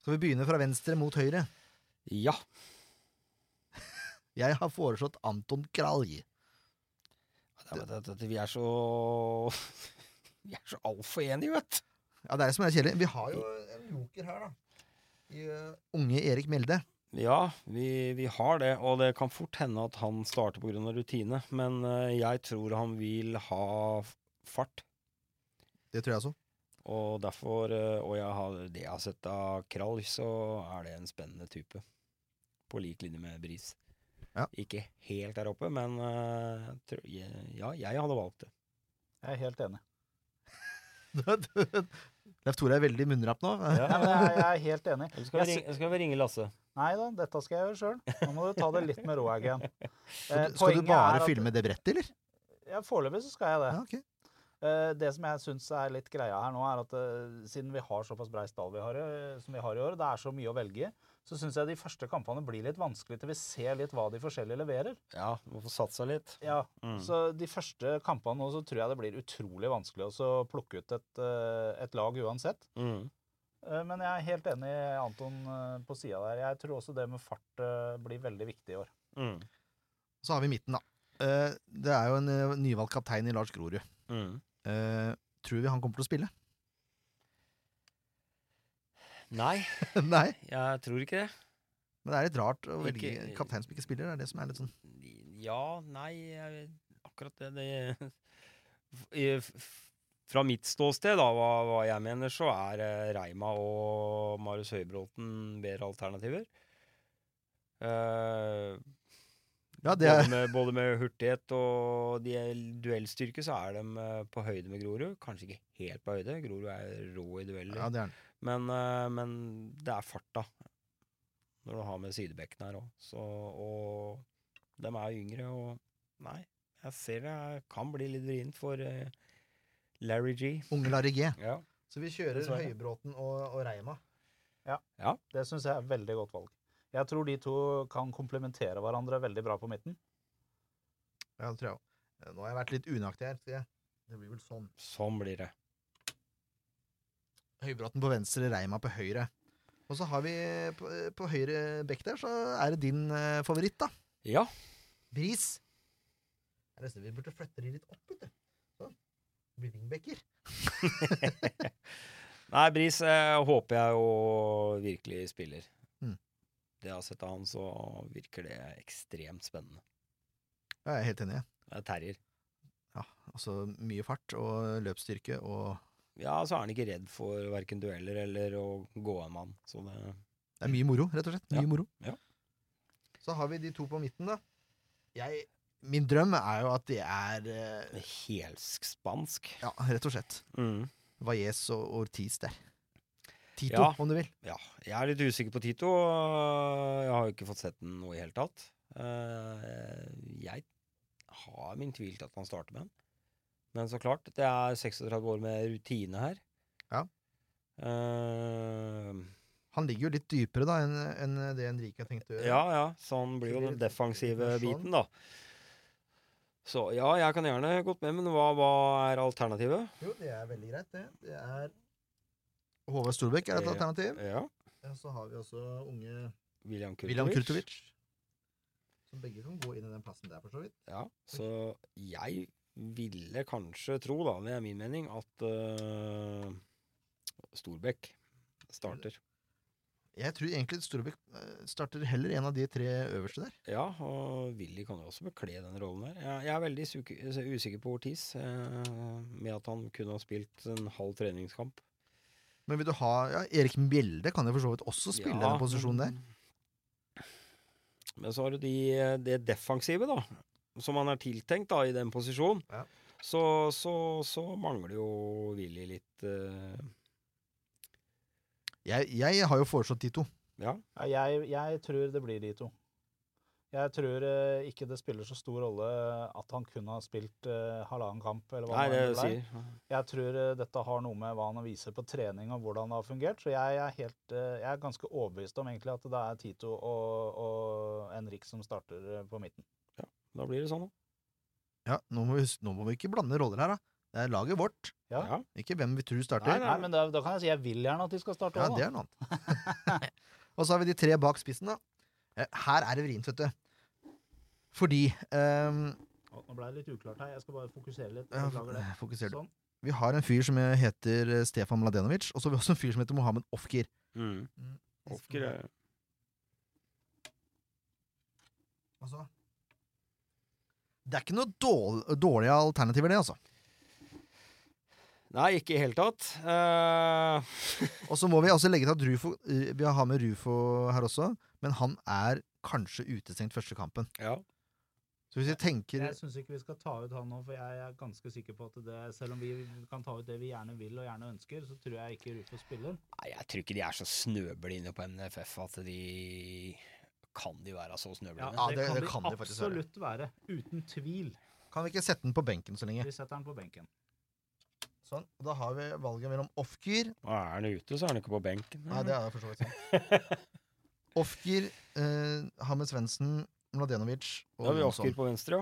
C: Skal vi begynne fra venstre mot høyre?
B: Ja.
C: Jeg har foreslått Anton Kralj.
B: Det, er- det, det, det, vi er så Vi er så altfor enige, vet du.
C: Ja, det er det som er kjedelig. Vi har jo en joker her, da. I, eh, unge Erik Melde.
B: Ja, vi, vi har det, og det kan fort hende at han starter pga. rutine. Men eh, jeg tror han vil ha f- fart,
C: Det tror jeg også.
B: og derfor eh, Og jeg har, det jeg har sett av Kralj, så er det en spennende type. På lik linje med Bris.
C: Ja.
B: Ikke helt der oppe, men eh, jeg tror- jeg, ja, jeg hadde valgt det.
D: Jeg er helt enig.
C: Leif Tore er veldig munnrapp nå.
D: Nei, men jeg, jeg er helt enig.
B: Nå skal,
D: Jeg
B: vi
D: sy-
B: ringe, nå skal vi ringe Lasse.
D: Nei da, dette skal jeg gjøre sjøl. Nå må du ta det litt med ro, Eggen. Eh,
C: Skal du
D: poenget er
C: bare
D: at-
C: filme det brettet, eller?
D: Ja, Foreløpig så skal jeg det.
C: Ja, ok.
D: Eh, Det som jeg syns er litt greia her nå, er at eh, siden vi har såpass brei stall vi har, eh, som vi har i år, og det er så mye å velge i, så syns jeg de første kampene blir litt vanskelig til vi ser litt hva de forskjellige leverer.
B: Ja, må få satsa litt.
D: Ja,
B: Mm.
D: Så de første kampene nå så tror jeg det blir utrolig vanskelig også å plukke ut et, eh, et lag uansett.
B: Mm.
D: Eh, Men jeg er helt enig i Anton eh, på sida der. Jeg tror også det med fart eh, blir veldig viktig i år.
B: Mm.
C: Så har vi midten, da. Eh, Det er jo en eh, nyvalgt kaptein i Lars Grorud.
B: Mm.
C: Eh, Tror vi han kommer til å spille?
B: Nei,
C: Nei.
B: jeg tror ikke det.
C: Men det er litt rart å velge
B: Ikke-
C: en kaptein som ikke spiller. Det er det som er litt sånn
B: Ja, nei, jeg, akkurat det, det I- f- Fra mitt ståsted, da, hva, hva jeg mener, så er eh, Reima og Marius Høybråten bedre alternativer. Eh,
C: Ja, det er
B: både, med, både med hurtighet og de- duellstyrke så er de eh, på høyde med Grorud. Kanskje ikke helt på høyde, Grorud er rå i dueller.
C: ja, det er han.
B: Men, eh, men det er farta. Når du har med sidebekken her òg. Og de er jo yngre, og Nei, jeg ser det er- kan bli litt vrient for eh, Larry G.
C: Unge Larry G.
B: Ja.
C: Så vi kjører
B: Dessverre.
C: Høybråten og, og Reima.
D: Det syns jeg er et veldig godt valg. Jeg tror de to kan komplementere hverandre veldig bra på midten.
C: Ja, det tror jeg også. Eh, Nå har jeg vært litt unøyaktig her. Skal jeg. Det blir vel sånn.
B: Sånn blir det.
C: Høybråten på venstre, Reima på høyre. Og så har vi på, på høyre bekk der, så er det din eh, favoritt, da.
B: Ja.
C: Bris. Jeg nesten vi burde flytte de litt opp, vet du. Sånn. Det blir wingbacker.
B: Nei, Bris eh, håper jeg jo virkelig spiller.
C: Mm.
B: Det jeg har sett av han, så virker det ekstremt spennende.
C: Ja, jeg er helt enig. jeg.
B: Det er terrier.
C: Altså mye fart og løpsstyrke og
B: Ja, så er han ikke redd for verken dueller eller å gå en mann. Så det
C: Det er mye moro, rett og slett. Mye
B: Ja,
C: moro.
B: ja.
C: Så har vi de to på midten, da. Jeg Min drøm er jo at det er eh,
B: helspansk.
C: Ja, rett og slett.
B: Mm.
C: Valles og Ortiz der. Tito,
B: Ja.
C: om du vil.
B: Ja, jeg er litt usikker på Tito. og Jeg har jo ikke fått sett den noe i hele tatt. Eh, Jeg har min tvil til at han starter med den. Men så klart, det er 36 år med rutine her.
C: Ja.
B: Eh,
C: Han ligger jo litt dypere da enn enn det Henrike har tenkt å gjøre.
B: ja, ja. Så han blir jo
C: Så
B: den
C: det-
B: defensive
C: det er sånn.
B: biten, da. Så ja, jeg kan gjerne gått med, men hva, hva er alternativet?
C: Jo, det er veldig greit, det. Det er Håvard Storbekk er et
B: Ja.
C: alternativ.
B: Ja.
C: Ja, Så har vi også unge
B: William Kurtovic.
C: William Kurtovic. Som begge kan gå inn i den plassen der, for så vidt.
B: Ja, så jeg ville kanskje tro, da, det er min mening, at eh, Storbekk starter.
C: Jeg tror egentlig Storbekk eh, starter heller en av de tre øverste der.
B: Ja, og Willy kan jo også bekle den rollen der. Jeg, jeg er veldig suke- så usikker på Ortiz, eh, med at han kunne ha spilt en halv treningskamp.
C: Men vil du ha ja, Erik Mjelde kan jo for så vidt også spille
B: Ja,
C: den posisjonen der.
B: Men så har du de, det defensive, da, som han er tiltenkt da, i den posisjonen.
C: Ja.
B: Så, så, så mangler jo Willy litt eh,
C: Jeg, jeg har jo foreslått de to.
B: Ja.
D: Ja, Jeg, jeg tror det blir de to. Jeg tror eh, ikke det spiller så stor rolle at han kun har spilt eh, halvannen kamp. eller hva
B: Nei, det
D: det ble.
B: sier
D: Jeg tror eh, dette har noe med hva han viser på trening og hvordan det har fungert. Så jeg er, helt, eh, jeg er ganske overbevist om egentlig at det er Tito og, og Henrik som starter eh, på midten.
B: Da blir det sånn, da.
C: Ja, nå må, vi, hus- nå må vi ikke blande roller her, da. Det er laget vårt,
D: Ja.
B: Ja.
C: ikke hvem vi tror starter.
D: Nei, nei, men da, da kan jeg si jeg vil gjerne at de skal starte
C: Ja,
D: også,
C: det er noe annet. og så har vi de tre bak spissen, da. Eh, Her er det vrient, vet du. Fordi ehm,
D: da. Å, Nå ble det litt uklart her. Jeg skal bare fokusere litt.
C: ja,
D: Beklager det.
C: Fokuser du.
D: Sånn.
C: Vi har en fyr som heter eh, Stefan Mladenovic, og så har vi også en fyr som heter Mohammed Ofkir.
B: Mm. Ofker er
C: Altså, Det er ikke noe dårl- dårlige alternativer, det, altså.
B: Nei, ikke i det hele tatt. Eh,
C: Og så må vi også legge til at Rufo eh, Vi har med Rufo her også, men han er kanskje utestengt første kampen.
B: ja.
C: Så hvis vi tenker
D: Jeg syns ikke vi skal ta ut han nå, for jeg er ganske sikker på at det, selv om vi kan ta ut det vi gjerne vil og gjerne ønsker, så tror jeg ikke Rufo spiller.
B: Nei, jeg tror ikke de er så snøblinde på NFF at de Kan de være så snøblinde?
C: Ja, det- det kan de faktisk være.
D: absolutt være. Uten tvil.
C: Kan vi ikke sette den på benken så lenge?
D: Vi setter han på benken.
C: Sånn, og Da har vi valget mellom Ofkir
B: Er han ute, så er han ikke på benken.
C: Nei, det er det for så vidt sant. Ofkir, eh, Hamed Svendsen, Mladenovic og
B: Da har vi
C: Jonsson.
B: Ofker på venstre,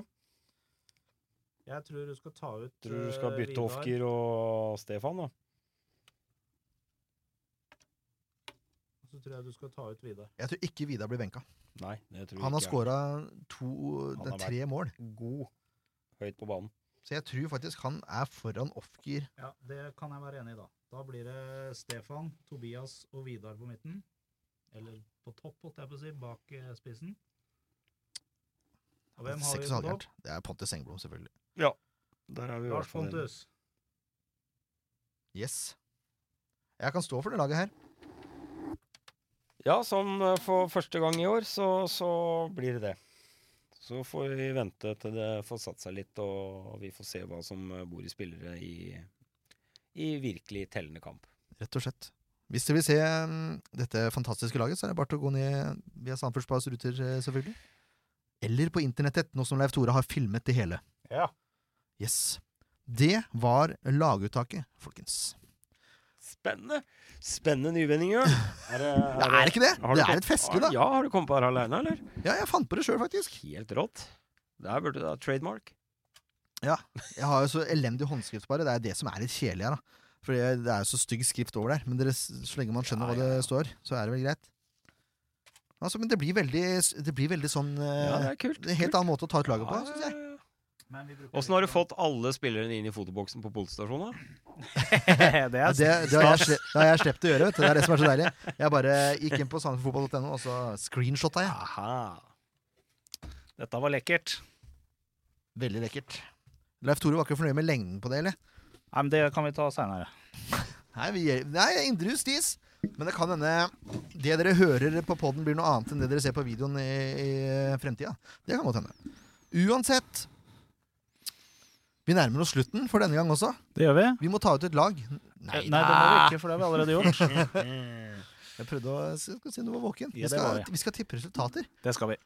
B: ja.
D: Jeg tror du skal ta ut
B: Tror du skal
D: eh,
B: bytte
D: Vidar.
B: Ofker og Stefan, da?
D: og Så tror jeg du skal ta ut Vidar.
C: Jeg tror ikke Vidar blir benka.
B: Nei, det tror
C: Han har
B: jeg ikke.
C: skåra to
B: Han
C: det er
B: har
C: tre mål,
B: er God høyt på banen.
C: så jeg tror faktisk han er foran Ofkir.
D: Ja, det kan jeg være enig i, da. Da blir det Stefan, Tobias og Vidar på midten. Eller på topp, holdt jeg på å si, bak eh, spissen. Og hvem har vi
C: Seks
D: på
C: og
D: topp?
C: halvgærent. Det er Pontus Engblom, selvfølgelig.
B: Der er vi i hvert
D: Lars
B: fall enige.
D: Pontus.
C: Yes. Jeg kan stå for det laget her.
B: Ja, sånn eh, for første gang i år, så, så blir det det. Så får vi vente til det får satt seg litt, og vi får se hva som eh, bor i spillere i, i virkelig tellende kamp.
C: Rett og slett. Hvis dere vil se mm, dette fantastiske laget, så er det bare til å gå ned via Sandfjordspas ruter, eh, selvfølgelig. Eller på internettet, nå som Leif Tore har filmet det hele.
D: Ja.
C: Yes. Det var laguttaket, folkens.
B: Spennende! Spennende nyvendinger. Er det,
C: Det er ikke det!
B: har du
C: Det er
B: kommet-
C: et festlig, da.
B: Ja, har du kommet på det alene, eller?
C: Ja, jeg fant på det sjøl, faktisk.
B: Helt rått. Der burde du ha trademark.
C: Jeg har jo så elendig håndskrift, bare. Det er det som er litt kjedelig her, da. For det det er jo så stygg skrift over der. Men dere, så lenge man skjønner hva
B: Ja, ja, ja.
C: det står, så er det vel greit. Altså, men det blir veldig, det blir veldig sånn
B: Ja,
C: eh,
B: det er kult.
C: det er en Helt annen måte å ta ut laget på,
B: Ja,
C: syns jeg.
B: ja, ja.
D: Men vi bruker
B: Åssen har du
D: litt-
B: fått alle spillerne inn i fotoboksen på politistasjonen? da?
D: det
C: Ja,
D: er
C: det, det, har jeg sle- det har jeg slept å gjøre. Vet du. Det er det som er så deilig. Jeg bare gikk inn på sandefjordfotball.no, og så screenshotta jeg.
B: Aha.
D: Dette var lekkert.
C: Veldig lekkert. Leif Tore var ikke fornøyd med lengden på det, eller?
D: Nei, men Det kan vi ta seinere.
C: Nei, vi, gjør- nei indre justis. Men det kan hende det dere hører på poden, blir noe annet enn det dere ser på videoen i, i fremtida. Det kan godt hende. Uansett Vi nærmer oss slutten for denne gang også.
D: Det gjør vi.
C: Vi må ta ut et lag. Nei,
D: Nei, det må vi ikke, for det har vi allerede gjort.
C: jeg prøvde å jeg skal si du var våken.
D: Ja,
C: Vi
D: det var
C: skal,
D: jeg.
C: vi skal tippe resultater.
D: Det skal vi.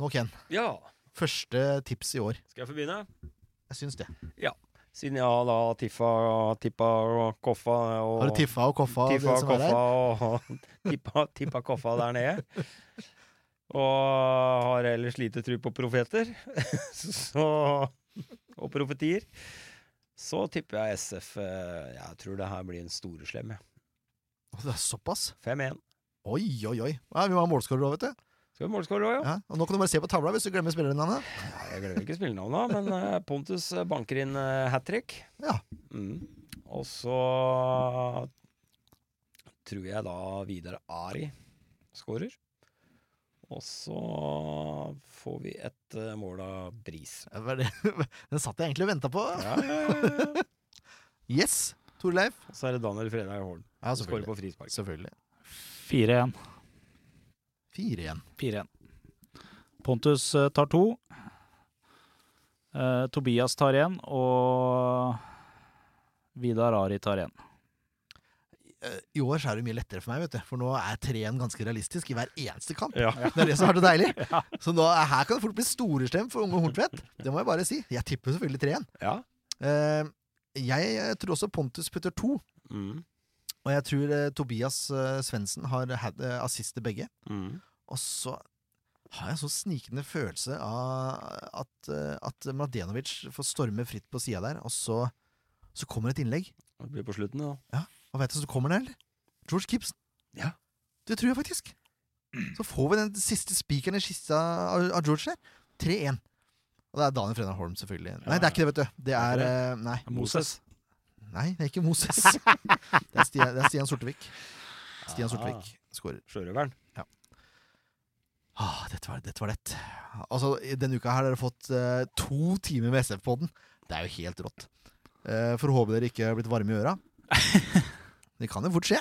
C: Nå, Ken.
B: Ja,
C: Første tips i år.
B: skal jeg få begynne?
C: Jeg syns det.
B: Siden jeg har da tiffa, tippa og koffa og
C: Har du tiffa og koffa? og det
B: tippa
C: som er der?
B: koffa og tippa, tippa koffa der nede. Og har ellers lite tro på profeter så, og profetier. Så tipper jeg SF eh, Jeg tror det her blir en storeslem. jeg.
C: Å, Det er såpass?
B: 5-1.
C: Oi, oi, oi. Ja, vi må ha målskårer òg, vet du.
B: Skal vi målskåre òg, ja?
C: Ja. Og nå kan du bare se på tavla hvis du glemmer spillernavnet.
B: Nei, Jeg glemmer ikke spillenavna, men eh, Pontus eh, banker inn hat trick.
C: Ja.
B: Mm. Og så tror jeg da Vidar Ari skårer. Og så får vi et eh, mål av Bris.
C: Ja, hva er det? Den satt jeg egentlig og venta på.
B: Ja, ja, ja.
C: Yes, Torleif.
B: Og så er det Daniel Fredheim Holm.
C: Ja,
B: som Skårer på frispark.
C: Selvfølgelig.
D: 4-1.
C: Fire igjen.
D: 4-1. Pontus eh, tar to. Eh, Tobias tar én, og Vidar Ari tar én.
C: eh, i år så er det mye lettere for meg, vet du. For nå er 3-1 ganske realistisk i hver eneste kamp.
F: Ja.
C: Det er det som er så deilig. Så nå, er- her kan det fort bli storestemt for unge Horntvedt. Det må jeg bare si. Jeg tipper selvfølgelig 3-1.
B: Ja.
C: Eh, jeg eh, tror også Pontus putter to.
B: Mm.
C: Og jeg tror eh, Tobias eh, Svendsen har hatt eh, assist til begge.
B: Mm.
C: Og så har jeg en sånn snikende følelse av at, eh, at Mladenovic får storme fritt på sida der, og så, så kommer et innlegg.
B: Det blir på slutten, da.
C: Og veit du hva som kommer der, eller? George Gibson.
B: Ja.
C: Det tror jeg faktisk. Så får vi den siste spikeren i kista av, av George der. 3-1. Og det er Daniel Frennar Holm, selvfølgelig. Nei, det er ikke det, vet du. Det
F: er
C: er
F: ikke
C: eh, Nei.
B: Moses.
C: Nei, det er ikke Moses. Det er Stian, det er Stian Sortevik. Stian Sortevik skårer.
B: Sjørøveren.
C: Ah, dette var, dette var lett. Altså, i denne uka her har dere fått eh, to timer med SF på den. Det er jo helt rått. Eh, får håpe dere ikke har blitt varme i øra. Det kan jo fort skje.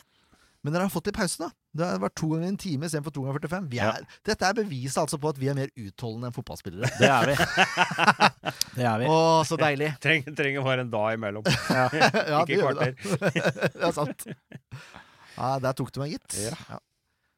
C: Men dere har fått litt pause, da. Det har vært to ganger en time istedenfor to ganger 45. Vi er, Dette er beviset altså på at vi er mer utholdende enn fotballspillere.
D: Det er vi. Det er
C: Å,
D: vi.
C: så deilig!
F: Trenger, trenger bare en dag imellom.
C: ja,
F: Ikke
C: gjør vi da. det er sant. Ja, der tok du meg, gitt. Ja.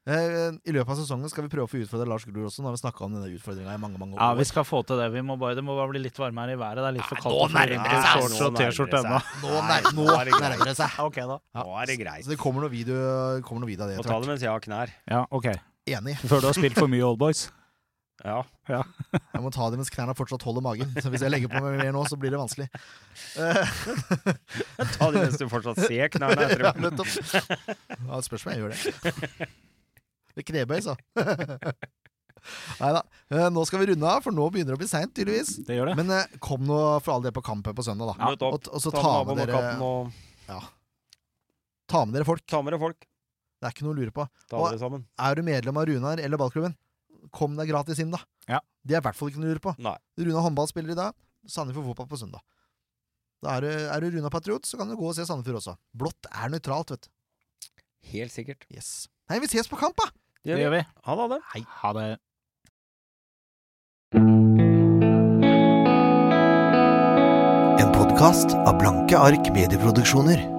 C: Eh, I løpet av sesongen skal vi prøve å få utfordra Lars Grorud også. Nå har vi snakka om denne utfordringa i mange mange år.
D: Ja, vi skal få til det. Vi må bare, det må bare bli litt varmere i været. Det er litt for kaldt.
C: nå
D: å fly rundt i
C: nærmer det seg.
D: shorts og
B: Nå nærmer
D: T-skjorte
B: det seg.
D: ennå.
C: Nå, nær, nå nærmer det seg.
D: Ok, da.
C: Ja.
B: Nå er det greit.
C: Så det kommer noe video, kommer noe video av det
B: Må
C: etter
B: ta
C: hvert.
B: det mens jeg har knær.
D: Ja, ok.
C: Enig.
D: Før du har spilt for mye Old Boys.
B: Ja.
C: Jeg må ta det mens knærne fortsatt holder magen. Så hvis jeg legger på meg mer nå, så blir det vanskelig. Eh,
B: Ta det mens du fortsatt ser knærne.
C: ja,
B: etter
C: nettopp. Ja, det spørs om jeg gjør det. Med knebøy, så. Nei da. Eh, Nå skal vi runde av, for nå begynner det å bli seint, tydeligvis.
D: Det gjør det.
C: Men eh, kom nå for all del på kampen på søndag, da.
B: Ja, Møt
C: Og,
B: opp.
C: og så
B: Ta
C: ta
B: med
C: med,
B: naboen og
C: dere,
B: katten og
C: ta med dere folk.
B: ta med dere folk.
C: Det er ikke noe å lure på.
B: Ta
C: Og-
B: dere sammen.
C: Er du medlem av Runar eller ballklubben, kom deg gratis inn, da.
D: Ja.
C: Det er i hvert fall ikke noe å lure på.
B: Nei.
C: Runa håndball spiller i dag, Sandefjord fotball på søndag. Da er du, er du Runa patriot, så kan du gå og se Sandefjord også. Blått er nøytralt, vet du.
B: Helt sikkert.
C: Yes. Nei, vi ses på kamp, da!
D: Det gjør vi.
B: Ha det, ha det.
D: Ha det.
C: En podkast av Blanke ark medieproduksjoner.